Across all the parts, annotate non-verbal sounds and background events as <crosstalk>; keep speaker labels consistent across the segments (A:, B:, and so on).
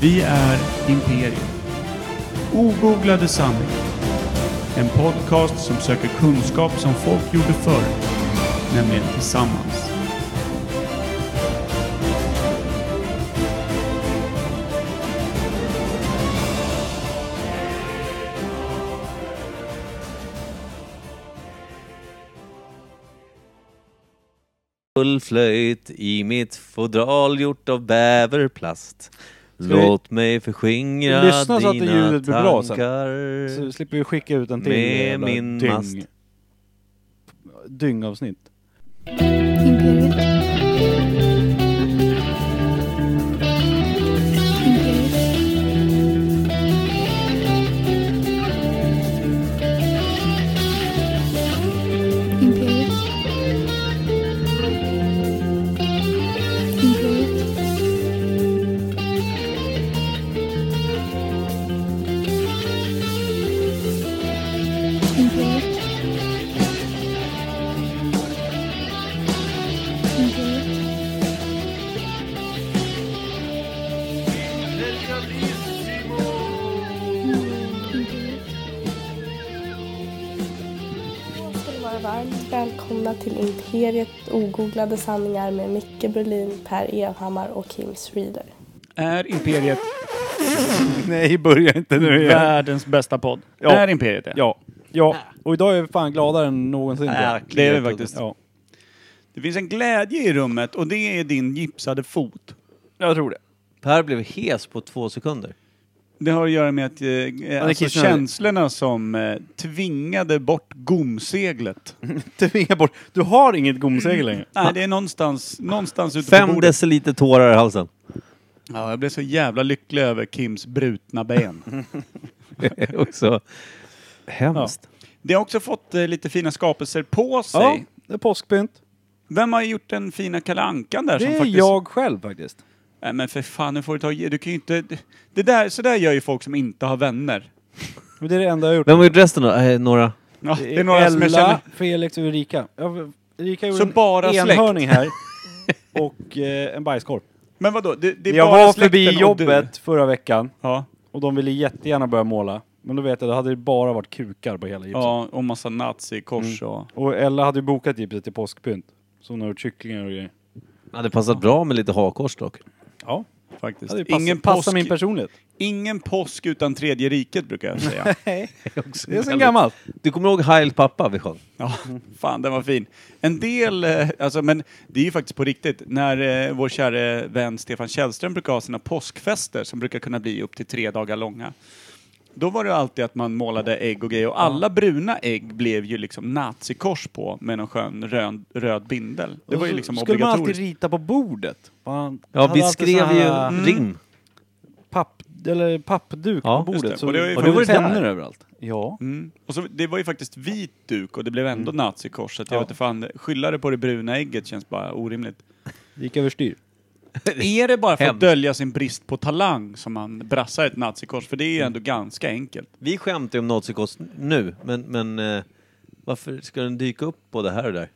A: Vi är Imperium. Ogooglade sanningar. En podcast som söker kunskap som folk gjorde förr, nämligen tillsammans.
B: full flöjt i mitt fodral gjort av bäverplast. Låt mig förskingra
C: Lyssna så att det
B: dina
C: ljudet blir bra sen.
B: tankar
C: Så slipper vi skicka ut en till eh,
B: med
C: jävla
B: min
C: dyng,
B: mast.
C: dyngavsnitt.
D: Imperiet. Imperiet. Imperiet. Imperiet. Imperiet. Imperiet.
E: ska ni vara varmt välkomna till Imperiet ogooglade sanningar med Micke Berlin, Per Evhammar och Kim Schreeder.
A: Är Imperiet
C: Nej, börja inte nu igen.
A: världens bästa podd?
C: Ja.
A: Är Imperiet det?
C: Ja. Ja, och idag är vi fan gladare än någonsin. tror jag.
B: Verkligen.
A: Det är vi faktiskt.
C: Ja,
A: Det finns en glädje i rummet och det är din gipsade fot.
C: jag tror det.
B: Per blev hes på två sekunder.
A: Det har att göra med att eh, eh, alltså
C: kissnödig.
A: känslorna som eh, tvingade bort gomseglet.
C: Tvinga bort. Du har inget gomsegel längre.
A: Nej, det är någonstans, någonstans ute på
B: Fem
A: bordet.
B: deciliter tårar i
C: <laughs>
B: halsen.
A: Ja, jag blev så jävla lycklig över Kims brutna ben.
B: Det är också hemskt.
A: <laughs> Det har också fått eh, lite fina skapelser på sig.
C: Ja, det är påskpynt.
A: Vem har gjort den fina Kalle Ankan där
C: Det
A: som
C: är
A: faktiskt...
C: jag själv faktiskt.
A: Nej men för fan, nu får du ta Du kan ju inte... Det där, så där gör ju folk som inte har vänner.
C: Men det är det enda jag har gjort.
B: Vem har gjort resten då? Eh, några.
A: Ja, det är några
C: Ella,
A: som jag känner...
C: Felix och Ulrika. Ja, Ulrika gjorde
A: Så
C: en
A: bara släkt?
C: enhörning här. Och eh, en bajskorv.
A: Men vadå? Det, det är
C: Jag
A: bara
C: var förbi
A: släkten och du.
C: jobbet förra veckan
A: Ja,
C: och de ville jättegärna börja måla. Men då vet jag, då hade det bara varit kukar på hela gipset.
A: ja, och massa nazikors och...
C: Och Ella hade ju bokat gipset till påskpynt. Så hon har gjort kycklingar och grejer.
B: Det hade passat bra med lite hakkors dock.
C: Ja,
A: Faktiskt.
C: hade ju
A: Ingen,
C: passat, passat
A: påsk,
C: min personlighet.
A: ingen påsk utan tredje riket brukar jag säga.
C: Det är sen gammalt.
B: Du kommer ihåg Heil pappa vi sjöng?
A: Ja, fan den var fin. En del, eh, alltså men det är ju faktiskt på riktigt. När eh, vår käre vän Stefan Källström brukar ha sina påskfester som brukar kunna bli upp till tre dagar långa. Då var det alltid att man målade ägg och grejer och alla bruna ägg blev ju liksom nazikors på med någon skön röd, röd bindel. Det var ju
C: Och så
A: liksom
C: Skulle man alltid
A: obligatoriskt.
C: rita på bordet? Man
B: Ja,
C: hade
B: vi
C: alltid
B: skrev
C: såna
B: ju
C: här mm,
B: rim.
C: Papp, eller pappduk
B: Ja,
C: på
A: just
C: bordet.
A: det.
C: Så,
A: Och det var ju
C: och det var ju
B: faktiskt
C: pennor
B: där.
C: överallt. Ja.
A: Mm. Och så, det var ju faktiskt vit duk och det blev ändå nazikors. Så att jag
C: Mm. Ja.
A: vet inte fan, skylla det på det bruna ägget känns bara orimligt.
C: Det gick överstyr.
A: Är det bara för att
B: Hemskt.
A: dölja sin brist på talang som man brassar ett nazikors? För det är ju ändå ganska enkelt.
B: Vi skämtar ju om nazikost nu, men, men eh, varför ska den dyka upp både här och där?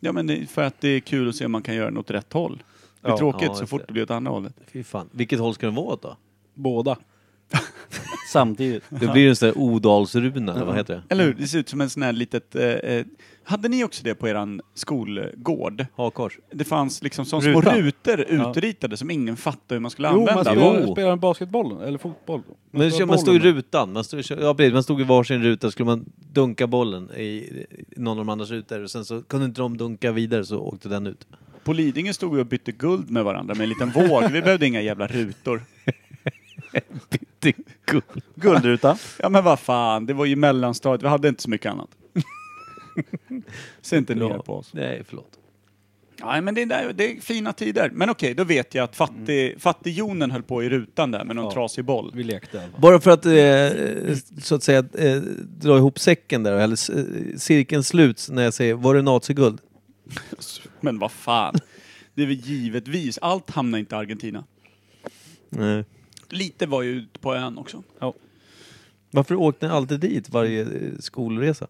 A: Ja men det är för att det är kul att se om man kan göra den åt rätt håll. Det är
C: Ja.
A: tråkigt
B: Ja,
A: så
B: just
A: fort
B: det.
A: det blir åt andra hållet.
B: Fy fan. Vilket håll ska den vara åt då?
C: Båda. Samtidigt.
B: Det blir en sån där Odalsruna, eller vad heter det?
A: Eller hur? Det ser ut som en sån här litet... Eh, eh, hade ni också det på eran skolgård?
B: Hakkors.
A: Det fanns liksom som små
C: Ruta.
A: rutor
C: Ja.
A: utritade som ingen fattade hur man skulle
C: Jo, man
A: använda.
C: spelar,
B: Jo.
C: spelar basketboll, eller fotboll.
B: Men
C: spelar
B: man stod i
C: bollen.
B: rutan, man stod, ja, precis, man stod i varsin ruta, skulle man dunka bollen i i någon av de andras rutor och sen så kunde inte de dunka vidare så åkte den ut.
A: På Lidingö stod vi och bytte guld med varandra med en liten våg. Vi behövde inga jävla
B: <laughs>
A: rutor.
B: Det är guld.
C: Guldruta.
A: Ja men vad fan, det var ju mellanstadiet. Vi hade inte så mycket
B: <laughs>
A: annat. Se inte ner på oss.
B: Nej, förlåt.
A: Nej, men det är, där, det är fina tider. Men okej, då vet jag att fattig,
B: Mm.
A: fattigjonen höll på i rutan där med någon
C: Ja.
A: trasig boll.
C: Vi lekte i alla fall.
B: Bara för att eh, så att säga eh, dra ihop säcken där, eller eh, cirkeln sluts när jag säger var det naziguld?
A: Men vad fan. Det är väl givetvis, allt hamnar inte i Argentina.
B: Nej.
A: Lite var ju ute på ön också.
B: Varför åkte ni alltid dit varje eh, skolresa?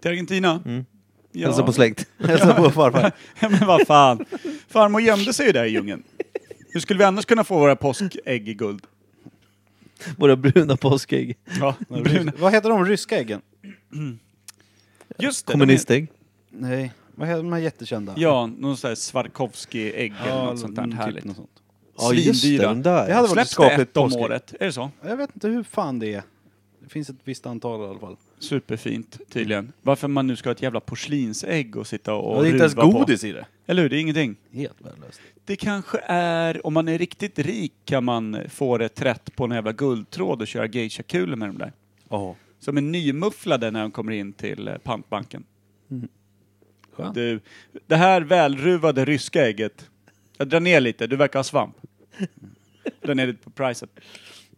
A: Till Argentina?
B: Mm.
A: Ja.
B: Hälsa på släkt. <laughs>
A: <laughs>
C: Hälsa på farfar.
A: Ja, men vad fan. Farmor gömde sig ju där i djungeln. Hur skulle vi annars kunna få våra påskägg i guld?
B: Våra bruna påskägg.
A: <laughs> Ja, bruna.
C: Vad heter de ryska äggen?
A: Just det, de heter-
B: Kommunistäg.
C: Nej, vad heter de här jättekända?
A: Ja, någon sån här Svarkovsky-ägg eller något sånt där
C: mm, typ
A: härligt.
C: något sånt.
B: Ja just det,
A: Svindyra.
B: de där.
C: Det hade varit
A: Släpps det
C: skapligt
A: ett om
C: påskägg.
A: året? Är det så?
C: Jag vet inte hur fan det är. Det finns ett visst antal i alla fall.
A: Superfint, tydligen. Varför man nu ska ha ett jävla porslinsägg och sitta och
C: det är inte ens
A: ruva på.
C: godis i det.
A: Eller hur? Det är ingenting.
C: Helt värdelöst.
A: Det kanske är, om man är riktigt rik kan man få det rätt på en jävla guldtråd och köra geisha-kulor med dem där.
C: Ja.
A: Som är nymufflade när de kommer in till eh, pantbanken.
C: Mm. Skönt.
A: Du, det här välruvade ryska ägget. Jag drar ner lite, du verkar ha
C: <laughs>
A: svamp. Drar ner lite på priset.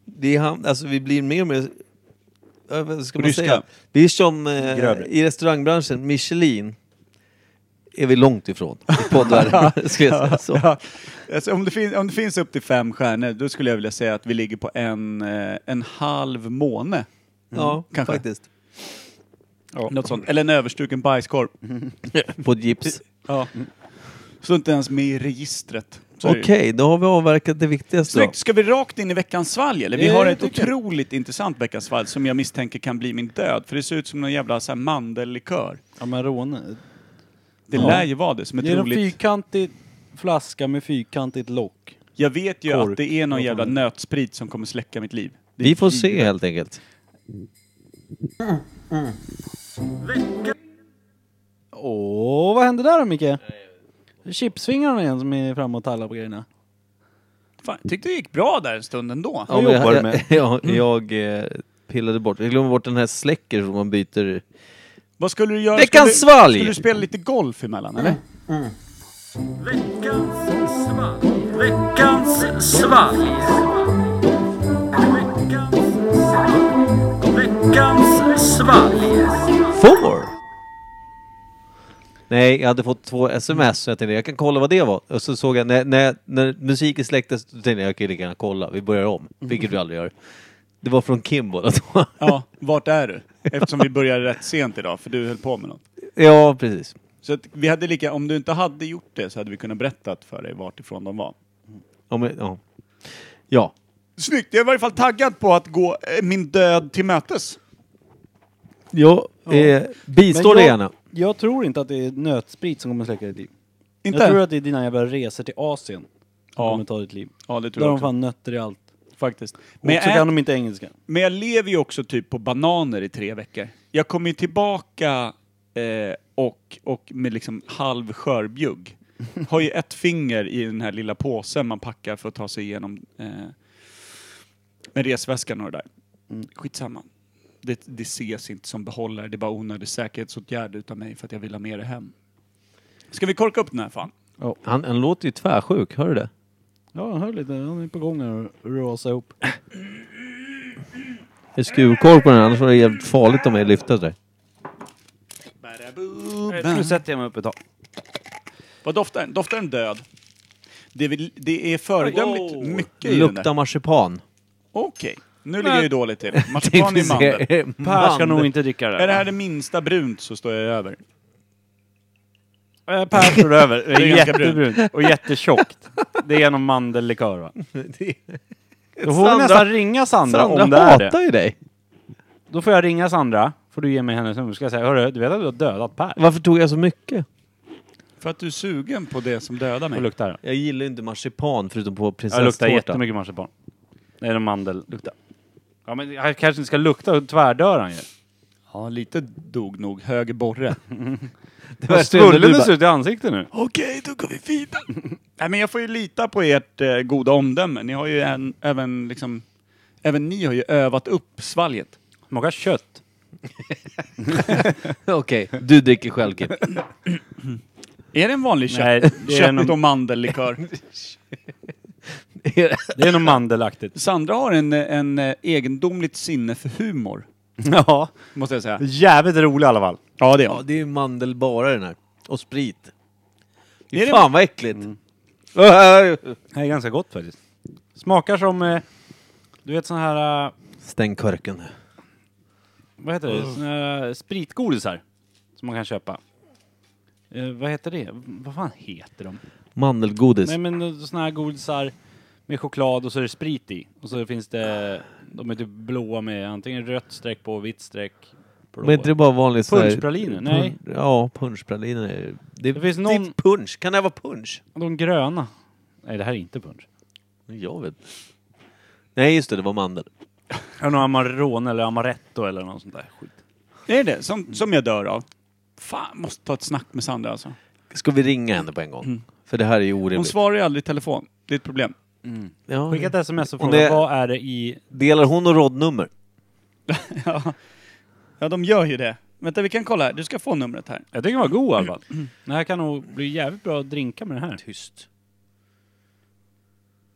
B: Det är ham- alltså vi blir mer och mer... Ja, Vad ska man
A: Ryska.
B: säga? Vi är som eh,
C: Grövre.
B: i restaurangbranschen, Michelin är vi långt ifrån i poddvärlden, ska jag säga så.
A: Ja. Alltså, om, det fin- om det finns upp till fem stjärnor, då skulle jag vilja säga att vi ligger på en, eh, en halv måne.
B: Ja,
A: kanske.
B: faktiskt.
A: Något sånt. Eller en överstruken bajskorv.
B: På ett gips.
A: Ja. Så inte ens med i registret. Så är det
B: Eh, Okej,
A: ju.
B: då har vi avverkat det viktigaste då.
A: Snyggt! Ska vi rakt in i veckans svalg eller? Vi
C: Ja,
A: har
C: jag
A: ett
C: tycker det.
A: otroligt intressant veckans svalg som jag misstänker kan bli min död. För det ser ut som någon jävla så här, mandellikör.
C: Amarone.
A: Det
C: Ja.
A: lär ju vara det som ett
C: Det är en
A: roligt...
C: fyrkantig flaska med fyrkantigt lock.
A: Jag vet ju
C: kork.
A: att det är någon
C: Vad fan
A: jävla
C: är det?
A: nötsprit som kommer släcka mitt liv.
B: Vi får se helt enkelt.
C: Åh, vad hände där då Micke? Chipsfingrarna igen som är framme och tallar på grejerna.
A: Fan, jag tyckte det gick bra där en stund ändå.
B: <laughs> Ja,
C: jobbar du
B: jag,
C: med?
B: jag, jag, eh, pillade bort, jag glömde bort den här släcker som man byter.
A: Vad skulle du göra?
B: Veckans
A: skulle,
B: svalg!
A: Skulle du spela lite golf emellan eller?
B: Får! Nej, jag hade fått två sms så jag tänkte jag kan kolla vad det var. Och så såg jag när, när, när musiken släcktes, då tänkte jag jag kan ju lika gärna kolla, vi börjar om. Vilket vi aldrig gör. Det var från Kim båda
C: <laughs>
B: två.
A: Ja, vart är du? Eftersom vi började rätt sent idag för du höll på med något.
B: Ja, precis.
A: Så att vi hade lika, om du inte hade gjort det så hade vi kunnat berätta för dig vart ifrån de var.
B: Ja, men, ja. ja.
A: Snyggt, jag är i varje fall taggad på att gå eh, min död till mötes.
B: Jo, eh,
C: Men
B: bistår det
C: jag-
B: gärna.
C: Jag tror inte att det är nötsprit som kommer släcka ditt liv.
A: Inte?
C: Jag tror att det är dina jävla resor till Asien som
A: Ja.
C: kommer ta ditt liv.
A: Ja, det
C: Där
A: tror jag
C: har de
A: också.
C: fan nötter i allt.
A: Faktiskt.
C: Men
A: Men
C: och så
A: jag,
C: kan
A: ät,
C: de inte engelska.
A: men jag lever ju också typ på bananer i tre veckor. Jag kommer ju tillbaka eh, och, och med liksom halv skörbjugg. Har ju ett finger i den här lilla påsen man packar för att ta sig igenom eh, med resväskan och det där. Skitsamma. Det, det ses inte som behållare, det är bara onödig säkerhetsåtgärd utav mig för att jag vill ha med det hem. Ska vi korka upp den här fan?
B: Han, han låter ju tvärsjuk, hör du det?
C: Ja, jag hör lite. Han är på gång här och rasar ihop.
B: Det är skurkork på den, annars var det jävligt farligt om jag lyfte där.
A: Eh,
C: Nu sätter jag mig upp ett tag.
A: Vad doftar den? Doftar den död? Det är, väl- det är föredömligt mycket i den
B: Lukta
A: där.
B: marsipan.
A: Okej, nu ligger jag ju dåligt till. Marsipan i mandel.
B: <laughs>
C: Per ska
B: Mandel.
C: nog inte dricka det
A: Är det
C: här.
A: här det minsta brunt så står jag över.
C: Eh, Per
A: <laughs>
C: står över. Det
A: Det är
C: är
A: ganska
C: jättebrunt och jättetjockt. Det är genom mandellikör va? Då får vi
B: Sandra-
C: nästan ringa Sandra,
B: Sandra
C: om det är
B: hatar
C: det.
B: ju dig.
C: Då får jag ringa Sandra. Får du ge mig hennes nummer. Ska jag säga, hörru, du vet att du har dödat Per?
B: Varför tog jag så mycket?
A: För att du är sugen på det som dödar
C: Och
A: mig.
C: luktar det.
B: Jag gillar ju inte marsipan förutom på
C: Jag luktar
B: prinsesstårta. <laughs>
C: jättemycket marsipan. Det är en mandel. Lukta. Ja men jag kanske inte ska lukta, då tvärdör han ju.
A: Ja, lite dog nog. Höger borre.
B: Det
C: Vad
B: värsta är när du
C: svullen det
B: bara-
C: ser ut i ansiktet nu.
A: Okej, då går vi vidare. <laughs> Nej, men jag får ju lita på ert eh, goda omdöme. Ni har ju en, även liksom... Även ni har ju övat upp svalget.
C: Smakar kött.
B: <laughs> <laughs> Okej, du dricker själv Kim.
A: Är det en vanlig kött,
C: Nej, det är
A: kött
C: någon-
A: och mandellikör?
C: Det är nog
A: <laughs>
C: mandelaktigt.
A: Sandra har en, en eh, egendomligt sinne för humor,
C: ja.
A: måste jag säga.
C: Jävligt rolig i alla fall.
A: Ja, det är
B: <laughs> ja,
A: hon.
B: det är ju mandel bara den här. Och sprit.
A: Är
B: Fy
A: det-
B: fan vad äckligt.
C: <laughs> Det är ganska gott faktiskt. Smakar som, eh, du vet sån här, eh,
B: Stäng korken.
C: vad heter det, sån här eh, spritgodisar. Som man kan köpa. Eh, vad heter det? Vad fan heter de?
B: Mandelgodis.
C: Nej men sådana här godisar med choklad och så är det sprit i. Och så finns det, de är typ blåa med antingen rött streck på, vitt streck. blå.
B: Men är inte det bara vanligt sådär...
C: Punschpraliner? Nej.
B: Pun- Ja, punschpraliner. är- Det,
C: Det
B: det
C: finns
B: finns
C: någon-
B: det är punsch. Kan det vara punsch?
C: De gröna. Nej det här är inte punsch.
B: Jag vet Nej, just det. Det var mandel.
C: Är det någon Amarone eller Amaretto eller något sånt där skit?
A: Är det som, som jag dör av? Fan, måste ta ett snack med Sandra alltså.
B: Ska vi ringa henne på en gång?
C: Mm.
B: För det här är ju
A: Hon
B: orimligt.
A: svarar ju aldrig i telefon. Det är ett problem.
B: ja.
C: Skicka ett sms och
B: Om
C: fråga
B: det-
C: vad är det i...
B: Delar hon och roddnummer?
A: <laughs> ja. ja, de gör ju det. Vänta, vi kan kolla här. Du ska få numret här.
C: Jag tycker den var god i alla fall. Den här kan nog bli jävligt bra att drinka med den här.
B: Mm. Tyst.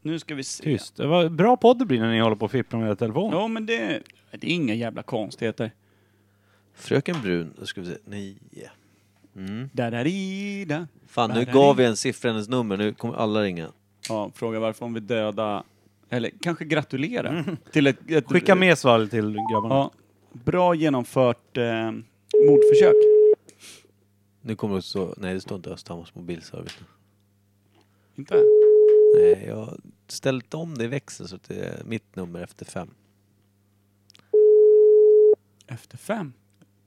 A: Nu ska vi se.
C: Tyst. Det var bra podd det blir när ni håller på och fipplar med era telefoner.
A: Ja, men det, det är inga jävla konstigheter.
B: Fröken Brun, då ska vi se. Nio. Mm.
A: Dararida.
B: Fan, nu
A: Där är
B: gav
A: det.
B: vi en siffra hennes nummer. Nu kommer alla ringa.
A: Ja, fråga varför hon vill döda... Eller kanske gratulera <laughs> till ett, ett...
C: Skicka med Svall till grabbarna.
A: Ja, bra genomfört eh, mordförsök.
B: Nu kommer det så... Nej, det står inte Östhammars mobilservice.
A: Inte?
B: Nej, jag har ställt om det i växeln så att det är mitt nummer efter fem.
A: Efter fem?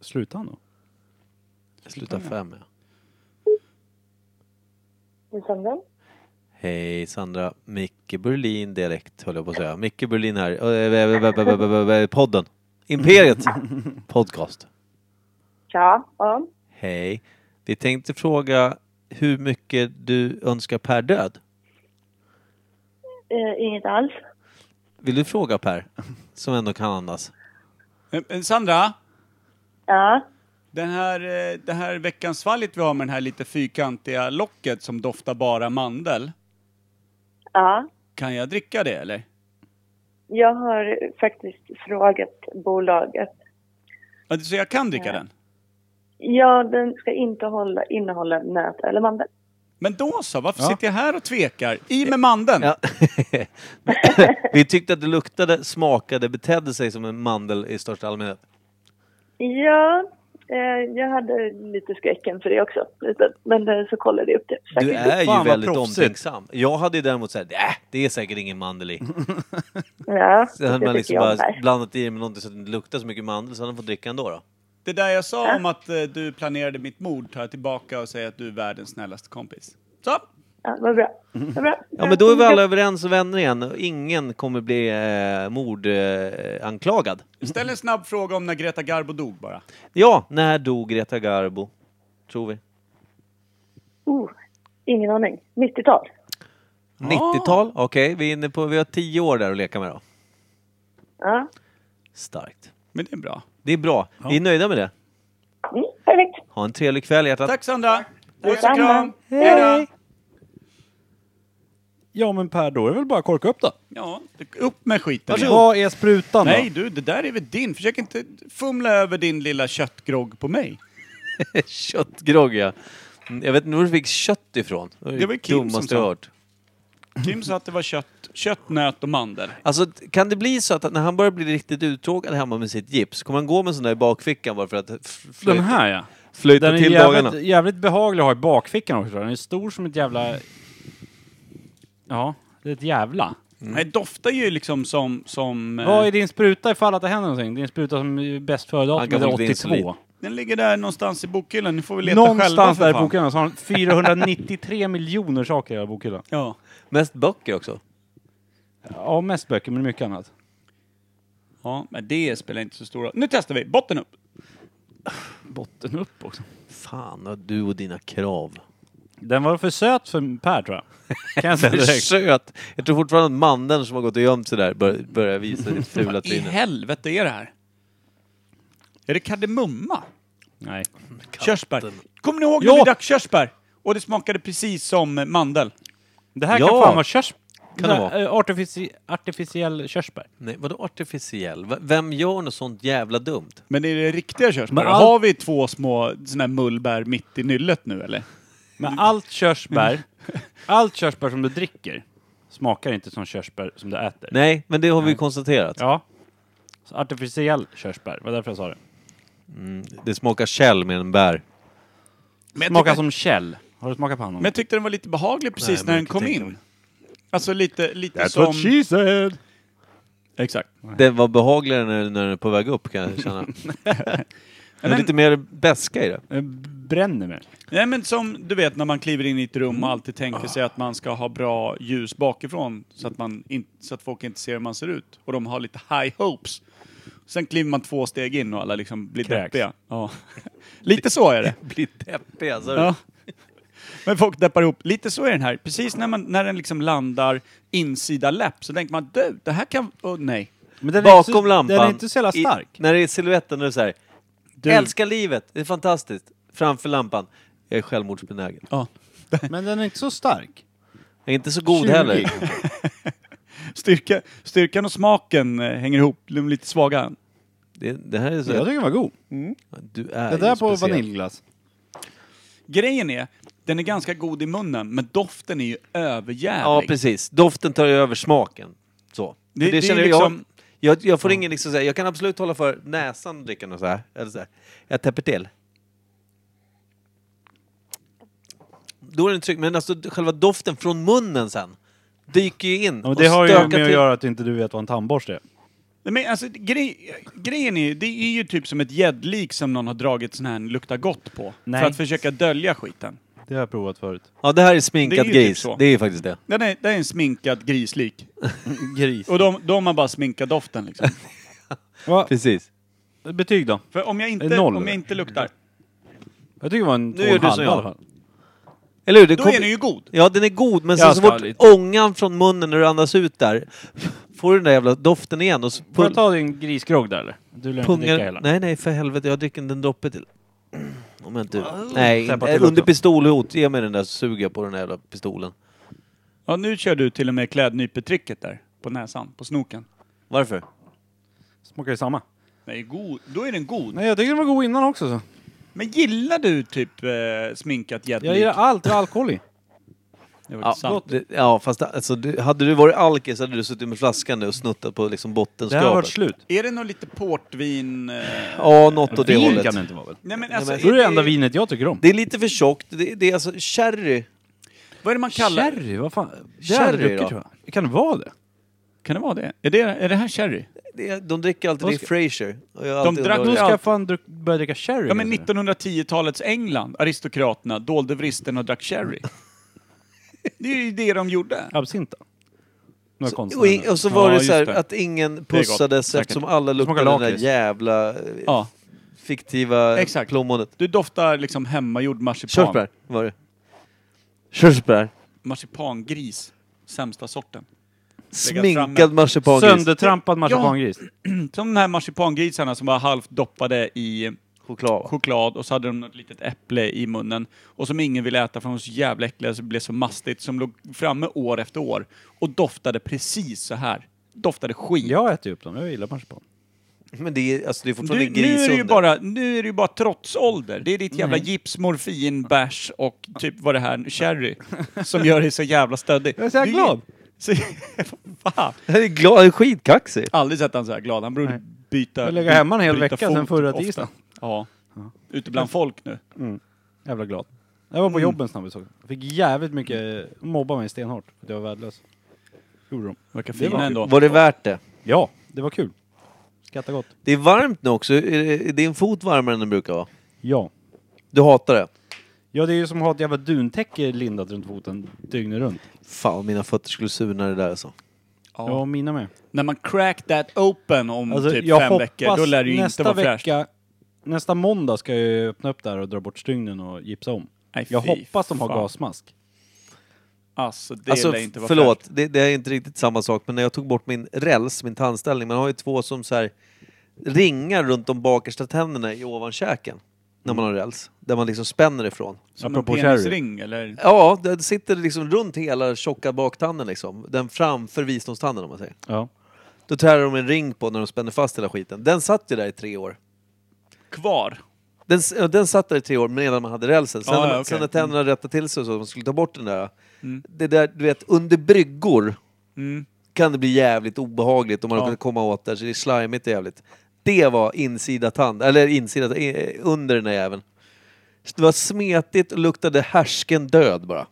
C: Sluta han då?
B: Sluta fem, ja.
F: Sandra?
B: Hej Sandra, Micke Berlin direkt höll jag på att säga. Micke Berlin här. Ö, ö, ö, ö, ö, ö, ö, ö, Podden. Imperiet Podcast.
F: Ja. ja.
B: Hej. Vi tänkte fråga hur mycket du önskar per död.
F: Eh, inget alls.
B: Vill du fråga Per? Som ändå kan andas.
A: Eh, eh, Sandra?
F: Ja.
A: Den här, eh, det här veckans fallet vi har med den här lite fyrkantiga locket som doftar bara mandel.
F: Ja.
A: Kan jag dricka det eller?
F: Jag har faktiskt frågat bolaget.
A: Ja, Så jag kan dricka den?
F: Ja, den ska inte hålla, innehålla nöt eller mandel.
A: Men då så, varför
C: Ja.
A: sitter jag här och tvekar? I med mandeln!
B: Ja. <laughs> Vi tyckte att det luktade, smakade, betedde sig som en mandel i största allmänhet.
F: Ja, eh, jag hade lite skräcken för det också. Lite. Men eh, så kollade jag upp det.
B: Du är
C: Fan,
B: ju
C: vad
B: väldigt
C: proffsigt.
B: omtänksam. Jag hade ju däremot såhär, äh, det är säkert ingen mandel i.
F: Ja,
B: Sen hade man
F: tycker
B: liksom
F: jag
B: bara
F: med.
B: blandat i det med någonting så att det inte luktar så mycket mandel så hade man fått dricka ändå då.
A: Det där jag sa om att eh, du planerade mitt mord tar jag tillbaka och säger att du är världens snällaste kompis. Så!
F: Ja, vad bra. Vad bra.
B: Mm. Ja men då är vi alla överens och vänner igen och ingen kommer bli eh, mordanklagad. Eh, anklagad.
A: Ställ en snabb fråga om när Greta Garbo dog bara.
B: ja, när dog Greta Garbo? Tror vi.
F: Oh, ingen aning. 90-tal.
B: 90-tal? Okej, vi är inne på, vi har 10 år där att leka med då.
F: Ja.
B: Starkt.
A: Men det är bra.
B: Det är bra. Vi är nöjda med det.
F: Mm, perfekt.
B: Ha en trevlig kväll hjärtat.
A: Tack Sandra! Puss och
F: Detsamma.
A: kram! Hej då!
C: Ja men Per, då är det väl bara att korka upp då?
A: Ja, upp med skiten igen.
C: Vad är sprutan då?
A: Nej du, det där är väl din. Försök inte fumla över din lilla köttgrogg på mig.
B: <laughs> Köttgrogg ja. Mm, Jag vet inte var du fick kött ifrån. Det var
A: Det var Kim som
B: dummaste
A: sa.
B: jag hört.
A: Kim sa att det var kött, kött nöt och mandel.
B: Alltså, kan det bli så att när han börjar bli riktigt uttråkad hemma med sitt gips, kommer han gå med en sån där i bakfickan bara för att f- flöjta,
C: Den här ja.
B: flöjta
C: Den är
B: till dagarna?
C: jävligt, jävligt behaglig att ha i bakfickan också. Den är stor som ett jävla... Ja, det är ett jävla.
A: Nej, det doftar ju liksom som... som eh,
C: Vad är din spruta ifall att det händer någonting? Din spruta som är bäst före
B: Han kan
C: datum är
B: få lite insulin.
C: 82.
A: Den ligger där någonstans i bokhyllan. Ni får väl leta själva
C: Någonstans
A: för
C: där i
A: fan.
C: bokhyllan så har han 493 miljoner saker i hela bokhyllan.
A: Ja.
B: Mest böcker också.
C: Ja, mest böcker men mycket annat.
A: ja, men det spelar inte så stor roll. Nu testar vi! Botten upp!
C: Botten upp också.
B: Fan, vad du och dina <laughs> krav.
C: Den var för söt för Per tror jag. Kan
B: <laughs>
C: jag säga
B: Det är
C: direkt.
B: söt! Jag tror fortfarande att mannen som har gått och gömt sig där bör, börjar visa sitt fula
A: I
B: tryne.
A: helvete är det här? Är det kardemumma?
C: Nej.
A: Körsbär. Kommer ni ihåg när
C: Ja!
A: vi drack körsbär? Och det smakade precis som mandel.
C: Det här kan
B: Ja.
C: fan vara körs...
B: Kan det vara?
C: Eh, Artifici... Artificiell körsbär.
B: Nej, vadå artificiell? V- Vem gör något sånt jävla dumt?
A: Men är det riktiga körsbär?
C: Men all-
A: Har vi två små såna här mullbär mitt i nyllet nu eller?
C: Men allt körsbär,
B: Mm. <laughs>
C: allt körsbär som du dricker smakar inte som körsbär som du äter.
B: Nej, men det har vi konstaterat.
C: Ja. Så artificiell körsbär, var därför jag sa det.
B: Det smakar käll med en bär.
A: Men jag
C: Smakar
A: tycker-
C: som käll. Har du smakat pannan?
A: Men jag tyckte den var lite behaglig
B: Nej,
A: precis
B: men
A: när
B: jag
A: den
B: kan
A: kom
B: tänka
A: in.
B: mig.
A: Alltså lite, lite
G: That's
A: som...
G: what she said!
A: Exakt.
B: Den var behagligare när, när den är på väg upp kan jag
C: <laughs>
B: känna. Den är
A: men-
B: lite mer beska i det.
C: Eh, Bränner mig.
A: Nej men som du vet när man kliver in i ett rum och alltid tänker sig att man ska ha bra ljus bakifrån så att, man in, så att folk inte ser hur man ser ut. Och de har lite high hopes. Sen kliver man två steg in och alla liksom blir
C: Kräks.
A: deppiga. Ja. <laughs> lite så är det.
B: Blir deppig alltså.
A: Ja. Men folk deppar ihop. Lite så är den här. Precis när, man, när den liksom landar insida läpp så tänker man du, det här kan... Åh nej.
C: Men den
B: Bakom
C: är inte så,
B: lampan.
C: Den är inte så jävla
B: i-
C: stark.
B: när det är siluetten och det är så här.
A: Du.
B: Älskar livet, det är fantastiskt. Framför lampan. Jag är självmordsbenägen.
A: Ja.
C: Men den är inte så stark.
B: Jag är inte så god
C: 20.
B: heller.
A: Styrka, styrkan och smaken eh, hänger ihop, de är lite svaga.
B: Det, det här är så...
C: Jag tycker den var god.
B: Du är
C: Det där
B: ju
C: på
B: speciell.
C: vaniljglass.
A: Grejen är, den är ganska god i munnen, men doften är ju överjävlig.
B: Ja, precis. Doften tar ju över smaken. Så.
A: Det-
B: Det,
A: det är
B: det känner jag-
A: liksom-
B: jag, jag, jag får ingen liksom så här, jag kan absolut hålla för näsan och dricka något så här. Eller så här. Jag täpper till. Då är det inte tryggt. Men alltså själva doften från munnen sen dyker ju in.
C: Ja, men det har ju
B: stökar
C: med att
B: till.
C: göra att inte du vet vad en tandborste är.
A: Nej, Men alltså, grej, grejen är ju, det är ju typ som ett gäddlik som någon har dragit sån här lukta gott på.
C: Nej.
A: För att försöka dölja skiten.
C: Det har jag provat förut.
B: Ja, det här är
A: Det är
B: sminkad
A: ju typ
B: gris.
A: så.
B: det är ju faktiskt det.
A: Den är, den är en sminkad grislik.
C: Gris.
A: Och de, de har bara sminkat doften <laughs> liksom.
B: Precis.
C: Betyg då?
A: För om jag inte,
C: Noll,
A: om
C: eller?
A: jag inte luktar,
C: Jag tycker det var en två och
B: gör
C: en
B: du
C: halv
B: som
C: i
B: jag.
C: alla fall.
B: Eller hur? Det
A: då
B: kom-
A: är den ju god.
B: Ja, den är god, men
C: Jag
B: sen så
C: ska
B: fort
C: ha lite.
B: ångan från munnen när du andas ut där, <laughs> får du den där jävla doften igen och så
C: Får jag
B: pul-
C: ta din grisgrogg där eller? Du lär inte dricka hela.
B: pungar... Nej, nej, för helvete. Jag dricker inte en droppe till. Om jag inte... Nej,
C: Täppa
B: inte-
C: till
B: under
C: också.
B: pistolhot. Ge mig den där så suger jag på den där jävla pistolen.
A: Ja, nu kör du till och med klädnypetricket där. På näsan, på snoken.
B: Varför?
C: Smakar ju samma.
A: Nej, god. Då är den god.
C: Nej, jag tycker den var god innan också. Så.
A: Men gillar du typ eh, sminkat
C: Jag
A: gäddlik?
C: gillar allt med alkohol i.
A: Det var
B: Ja,
A: inte sant.
B: det, ja fast alltså, du, hade du varit alkis hade du suttit med flaskan nu och snuttat på liksom
C: <laughs> Det här har
B: bottenskrapet.
C: varit slut.
A: Är det något lite portvin... Eh...
B: Ja, något åt det
C: Vin
B: hållet.
C: kan det inte vara väl?
A: Nej, men alltså,
B: men-
C: Det är det enda
A: är-
C: vinet jag tycker om.
B: Det är lite för tjockt. Det, det är alltså sherry.
A: Vad är det man kallar
C: Sherry, vad fan? Det
B: Sherry
C: hade jag druckit,
B: då?
C: tror jag. Kan det vara det?
A: Kan det vara det? Är det, är det här sherry?
B: Det är- De dricker alltid
C: Vad
B: det i
C: ska-
B: Frasier. Och jag har
A: De
B: alltid
A: drack
B: undrat-
A: nog
C: Nu ska
A: Ja.
C: jag fan druck- börja dricka sherry.
A: Ja, men
C: kanske.
A: 1910-talets England, aristokraterna, dolde vristen och drack <laughs> sherry. Det är ju det de gjorde.
C: Absint då? Några
B: Så, och, i-
C: konstnärer.
B: och så var
A: Ja,
B: det så här
A: just det.
B: att ingen
A: gott,
B: pussades
A: säkert.
B: eftersom alla luktade
C: Smakar
B: den där
C: lakrits.
B: jävla eh,
A: Ja,
B: fiktiva
A: Exakt.
B: plommonet.
A: du doftar liksom hemmagjord marsipan.
B: Körsbär var det. Körsbär.
A: Marsipangris. Sämsta sorten.
B: Sminkad marsipangris.
C: Söndertrampad marsipangris.
A: Som de här marsipangrisarna som var halvt doppade i
B: Choklad.
A: choklad och så hade de något litet äpple i munnen och som ingen ville äta för de var så jävla äckliga så det blev så mastigt som låg framme år efter år och doftade precis så här. Doftade skit.
C: Jag äter ju upp dem, jag gillar marsipan.
B: Men det är, alltså, det är fortfarande
A: Du,
B: en
A: nu,
B: gris
A: är det ju
B: under.
A: bara, nu är det ju bara trotsålder. Det är ditt jävla gips, morfin, bärs och typ vad det här, sherry, som gör dig så jävla stöddig.
C: Jag är så här
A: Du-
C: glad.
A: <laughs> Så, fan.
B: Jag är glad, jag är skitkaxig.
A: Aldrig sett han så här glad. Han borde byta...
C: Jag lägger hemma en hel
A: byta
C: vecka sedan
A: fot
C: förra
A: ofta.
C: tisdagen.
A: Ja. Ute bland folk nu.
C: Jävla glad. Jag
A: Mm.
C: var på jobben snabbt vi såg. Jag Fick jävligt mycket, mobba mig stenhårt för att jag var värdelös. Gjorde de.
A: Verkar
C: Det var-
A: fina ändå.
B: Var det värt det?
C: Ja, det var kul. Skrattar gott.
B: Det är varmt nu också. Är det- är din fot varmare än den brukar vara?
C: Ja.
B: Du hatar det?
C: Ja, det är ju som att ha ett jävla duntäcke lindat runt foten dygnet runt.
B: Fan, mina fötter skulle surna det där alltså.
A: Ja.
C: Ja, mina med.
A: När man crack that open om
C: Alltså,
A: typ
C: jag
A: fem
C: hoppas
A: veckor, då lär det ju inte
C: nästa
A: vara fräscht.
C: vecka, Nästa måndag ska jag ju öppna upp där och dra bort stygnen och gipsa om.
A: Nej,
C: jag
A: fy
C: hoppas de har
A: fan.
C: gasmask.
A: Alltså, det
B: alltså,
A: lär ju inte vara
B: förlåt,
A: fräscht.
B: det, det är inte riktigt samma sak, men när jag tog bort min räls, min tandställning, man har ju två som så här ringar runt de bakersta tänderna i ovankäken när man har räls, där man liksom spänner ifrån.
A: Som
C: Apropå
A: en
C: sherry.
A: penisring eller?
B: Ja, det sitter liksom runt hela tjocka baktanden liksom, den framför visdomstanden om man säger.
C: Ja.
B: Då tär de en ring på när de spänner fast hela skiten. Den satt ju där i tre år.
A: Kvar.
B: Den, s- ja, den satt där i tre år medan man hade rälsen. Sen,
A: Ja,
B: när,
A: ja,
B: man,
A: okej. Mm.
B: sen när tänderna rättade till sig och så, man skulle ta bort den där. Det där, du vet, under bryggor
A: Mm.
B: kan det bli jävligt obehagligt om man
A: Ja.
B: kan komma åt där, så det är slimigt jävligt. Det var insida tand, eller insida, eh, under den där jäveln. Så det var smetigt och luktade härsken död bara.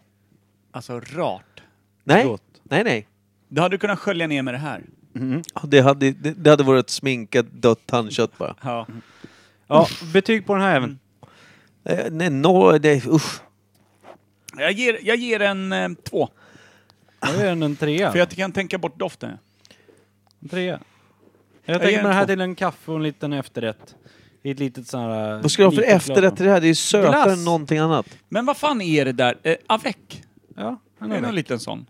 A: Alltså rart.
B: Nej,
H: Gott.
B: nej, nej.
A: Det hade du kunnat skölja ner med det här.
B: Ja, Det hade, det, det hade varit ett sminkat dött tandkött bara.
A: Ja.
H: Ja, betyg på den här
A: Mm.
H: även.
B: Eh, Nej, no, det, usch.
A: Jag, ger, jag ger en eh, två.
H: Då är den en trea.
A: För jag kan tänka bort doften.
H: En trea. Jag,
A: Jag ger
H: tänker
A: en
H: mig det här
A: två.
H: till en kaffe och en liten efterrätt. I ett litet sån här...
B: Vad ska du ha för
H: litet
B: efterrätt
H: glas.
B: till det här? Det är ju sötare
H: Glass.
B: än någonting annat.
A: Men vad fan är det där? Eh, avec?
H: Ja, en
A: Är det någon
H: öl.
A: liten sån?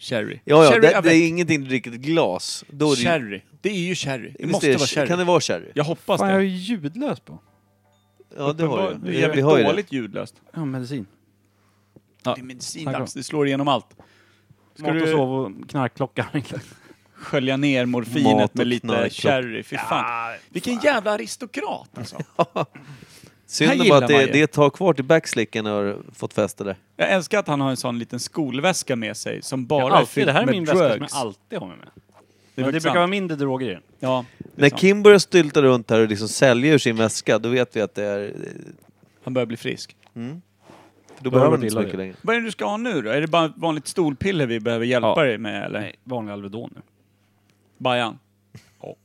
A: Sherry?
B: Ja, ja,
A: sherry
B: det, det
A: avec.
B: är ingenting du dricker i ett glas. Då är det, ju-
A: Sherry. Det är ju sherry. Det
B: Visst
A: måste
B: är
A: vara sherry.
B: Kan det vara sherry?
A: Jag hoppas
H: Fan, jag är
A: det.
H: ju ljudlös på.
B: Ja, det har
A: Det är
B: du. Vi, vi
A: jävligt
B: har ju det.
A: dåligt ljudlöst.
H: Ja, medicin.
A: Det är
H: Tack
A: medicindags. Det slår igenom allt. Ska
H: Mat och
A: du-
H: sov och
A: <laughs>
H: knarkklockan.
A: Skölja ner
B: Mat
A: morfinet
B: och
A: med lite
B: knark.
A: sherry. Fy fan. Vilken jävla aristokrat alltså. Här
B: Synd bara
A: gillar
B: att
A: man
B: det,
A: ju.
B: det tar kvar till backslicken har fått fäste där.
A: Jag älskar att han har en sån liten skolväska med sig som bara
H: Jag
A: är
H: alltid,
A: fylld
H: det här är
A: med
H: min
A: drugs.
H: väska som jag alltid har med mig.
A: Det,
H: Men det
A: är faktiskt
H: brukar vara
A: sant.
H: mindre droger i den.
A: Ja, det
B: När
A: är sant.
B: Kim börjar stylta runt här och liksom sälja ur sin väska, då vet vi att det är...
A: Han börjar bli frisk.
B: För
H: Då har det
B: då behöver
H: varit
B: man inte så
H: illa
B: mycket
H: det.
B: längre.
A: Vad är det du ska ha nu då? Är det bara ett vanligt stolpiller vi behöver hjälpa
H: Ja.
A: dig med eller?
H: Nej, vanlig Alvedon nu.
A: Bajan?
H: Ja.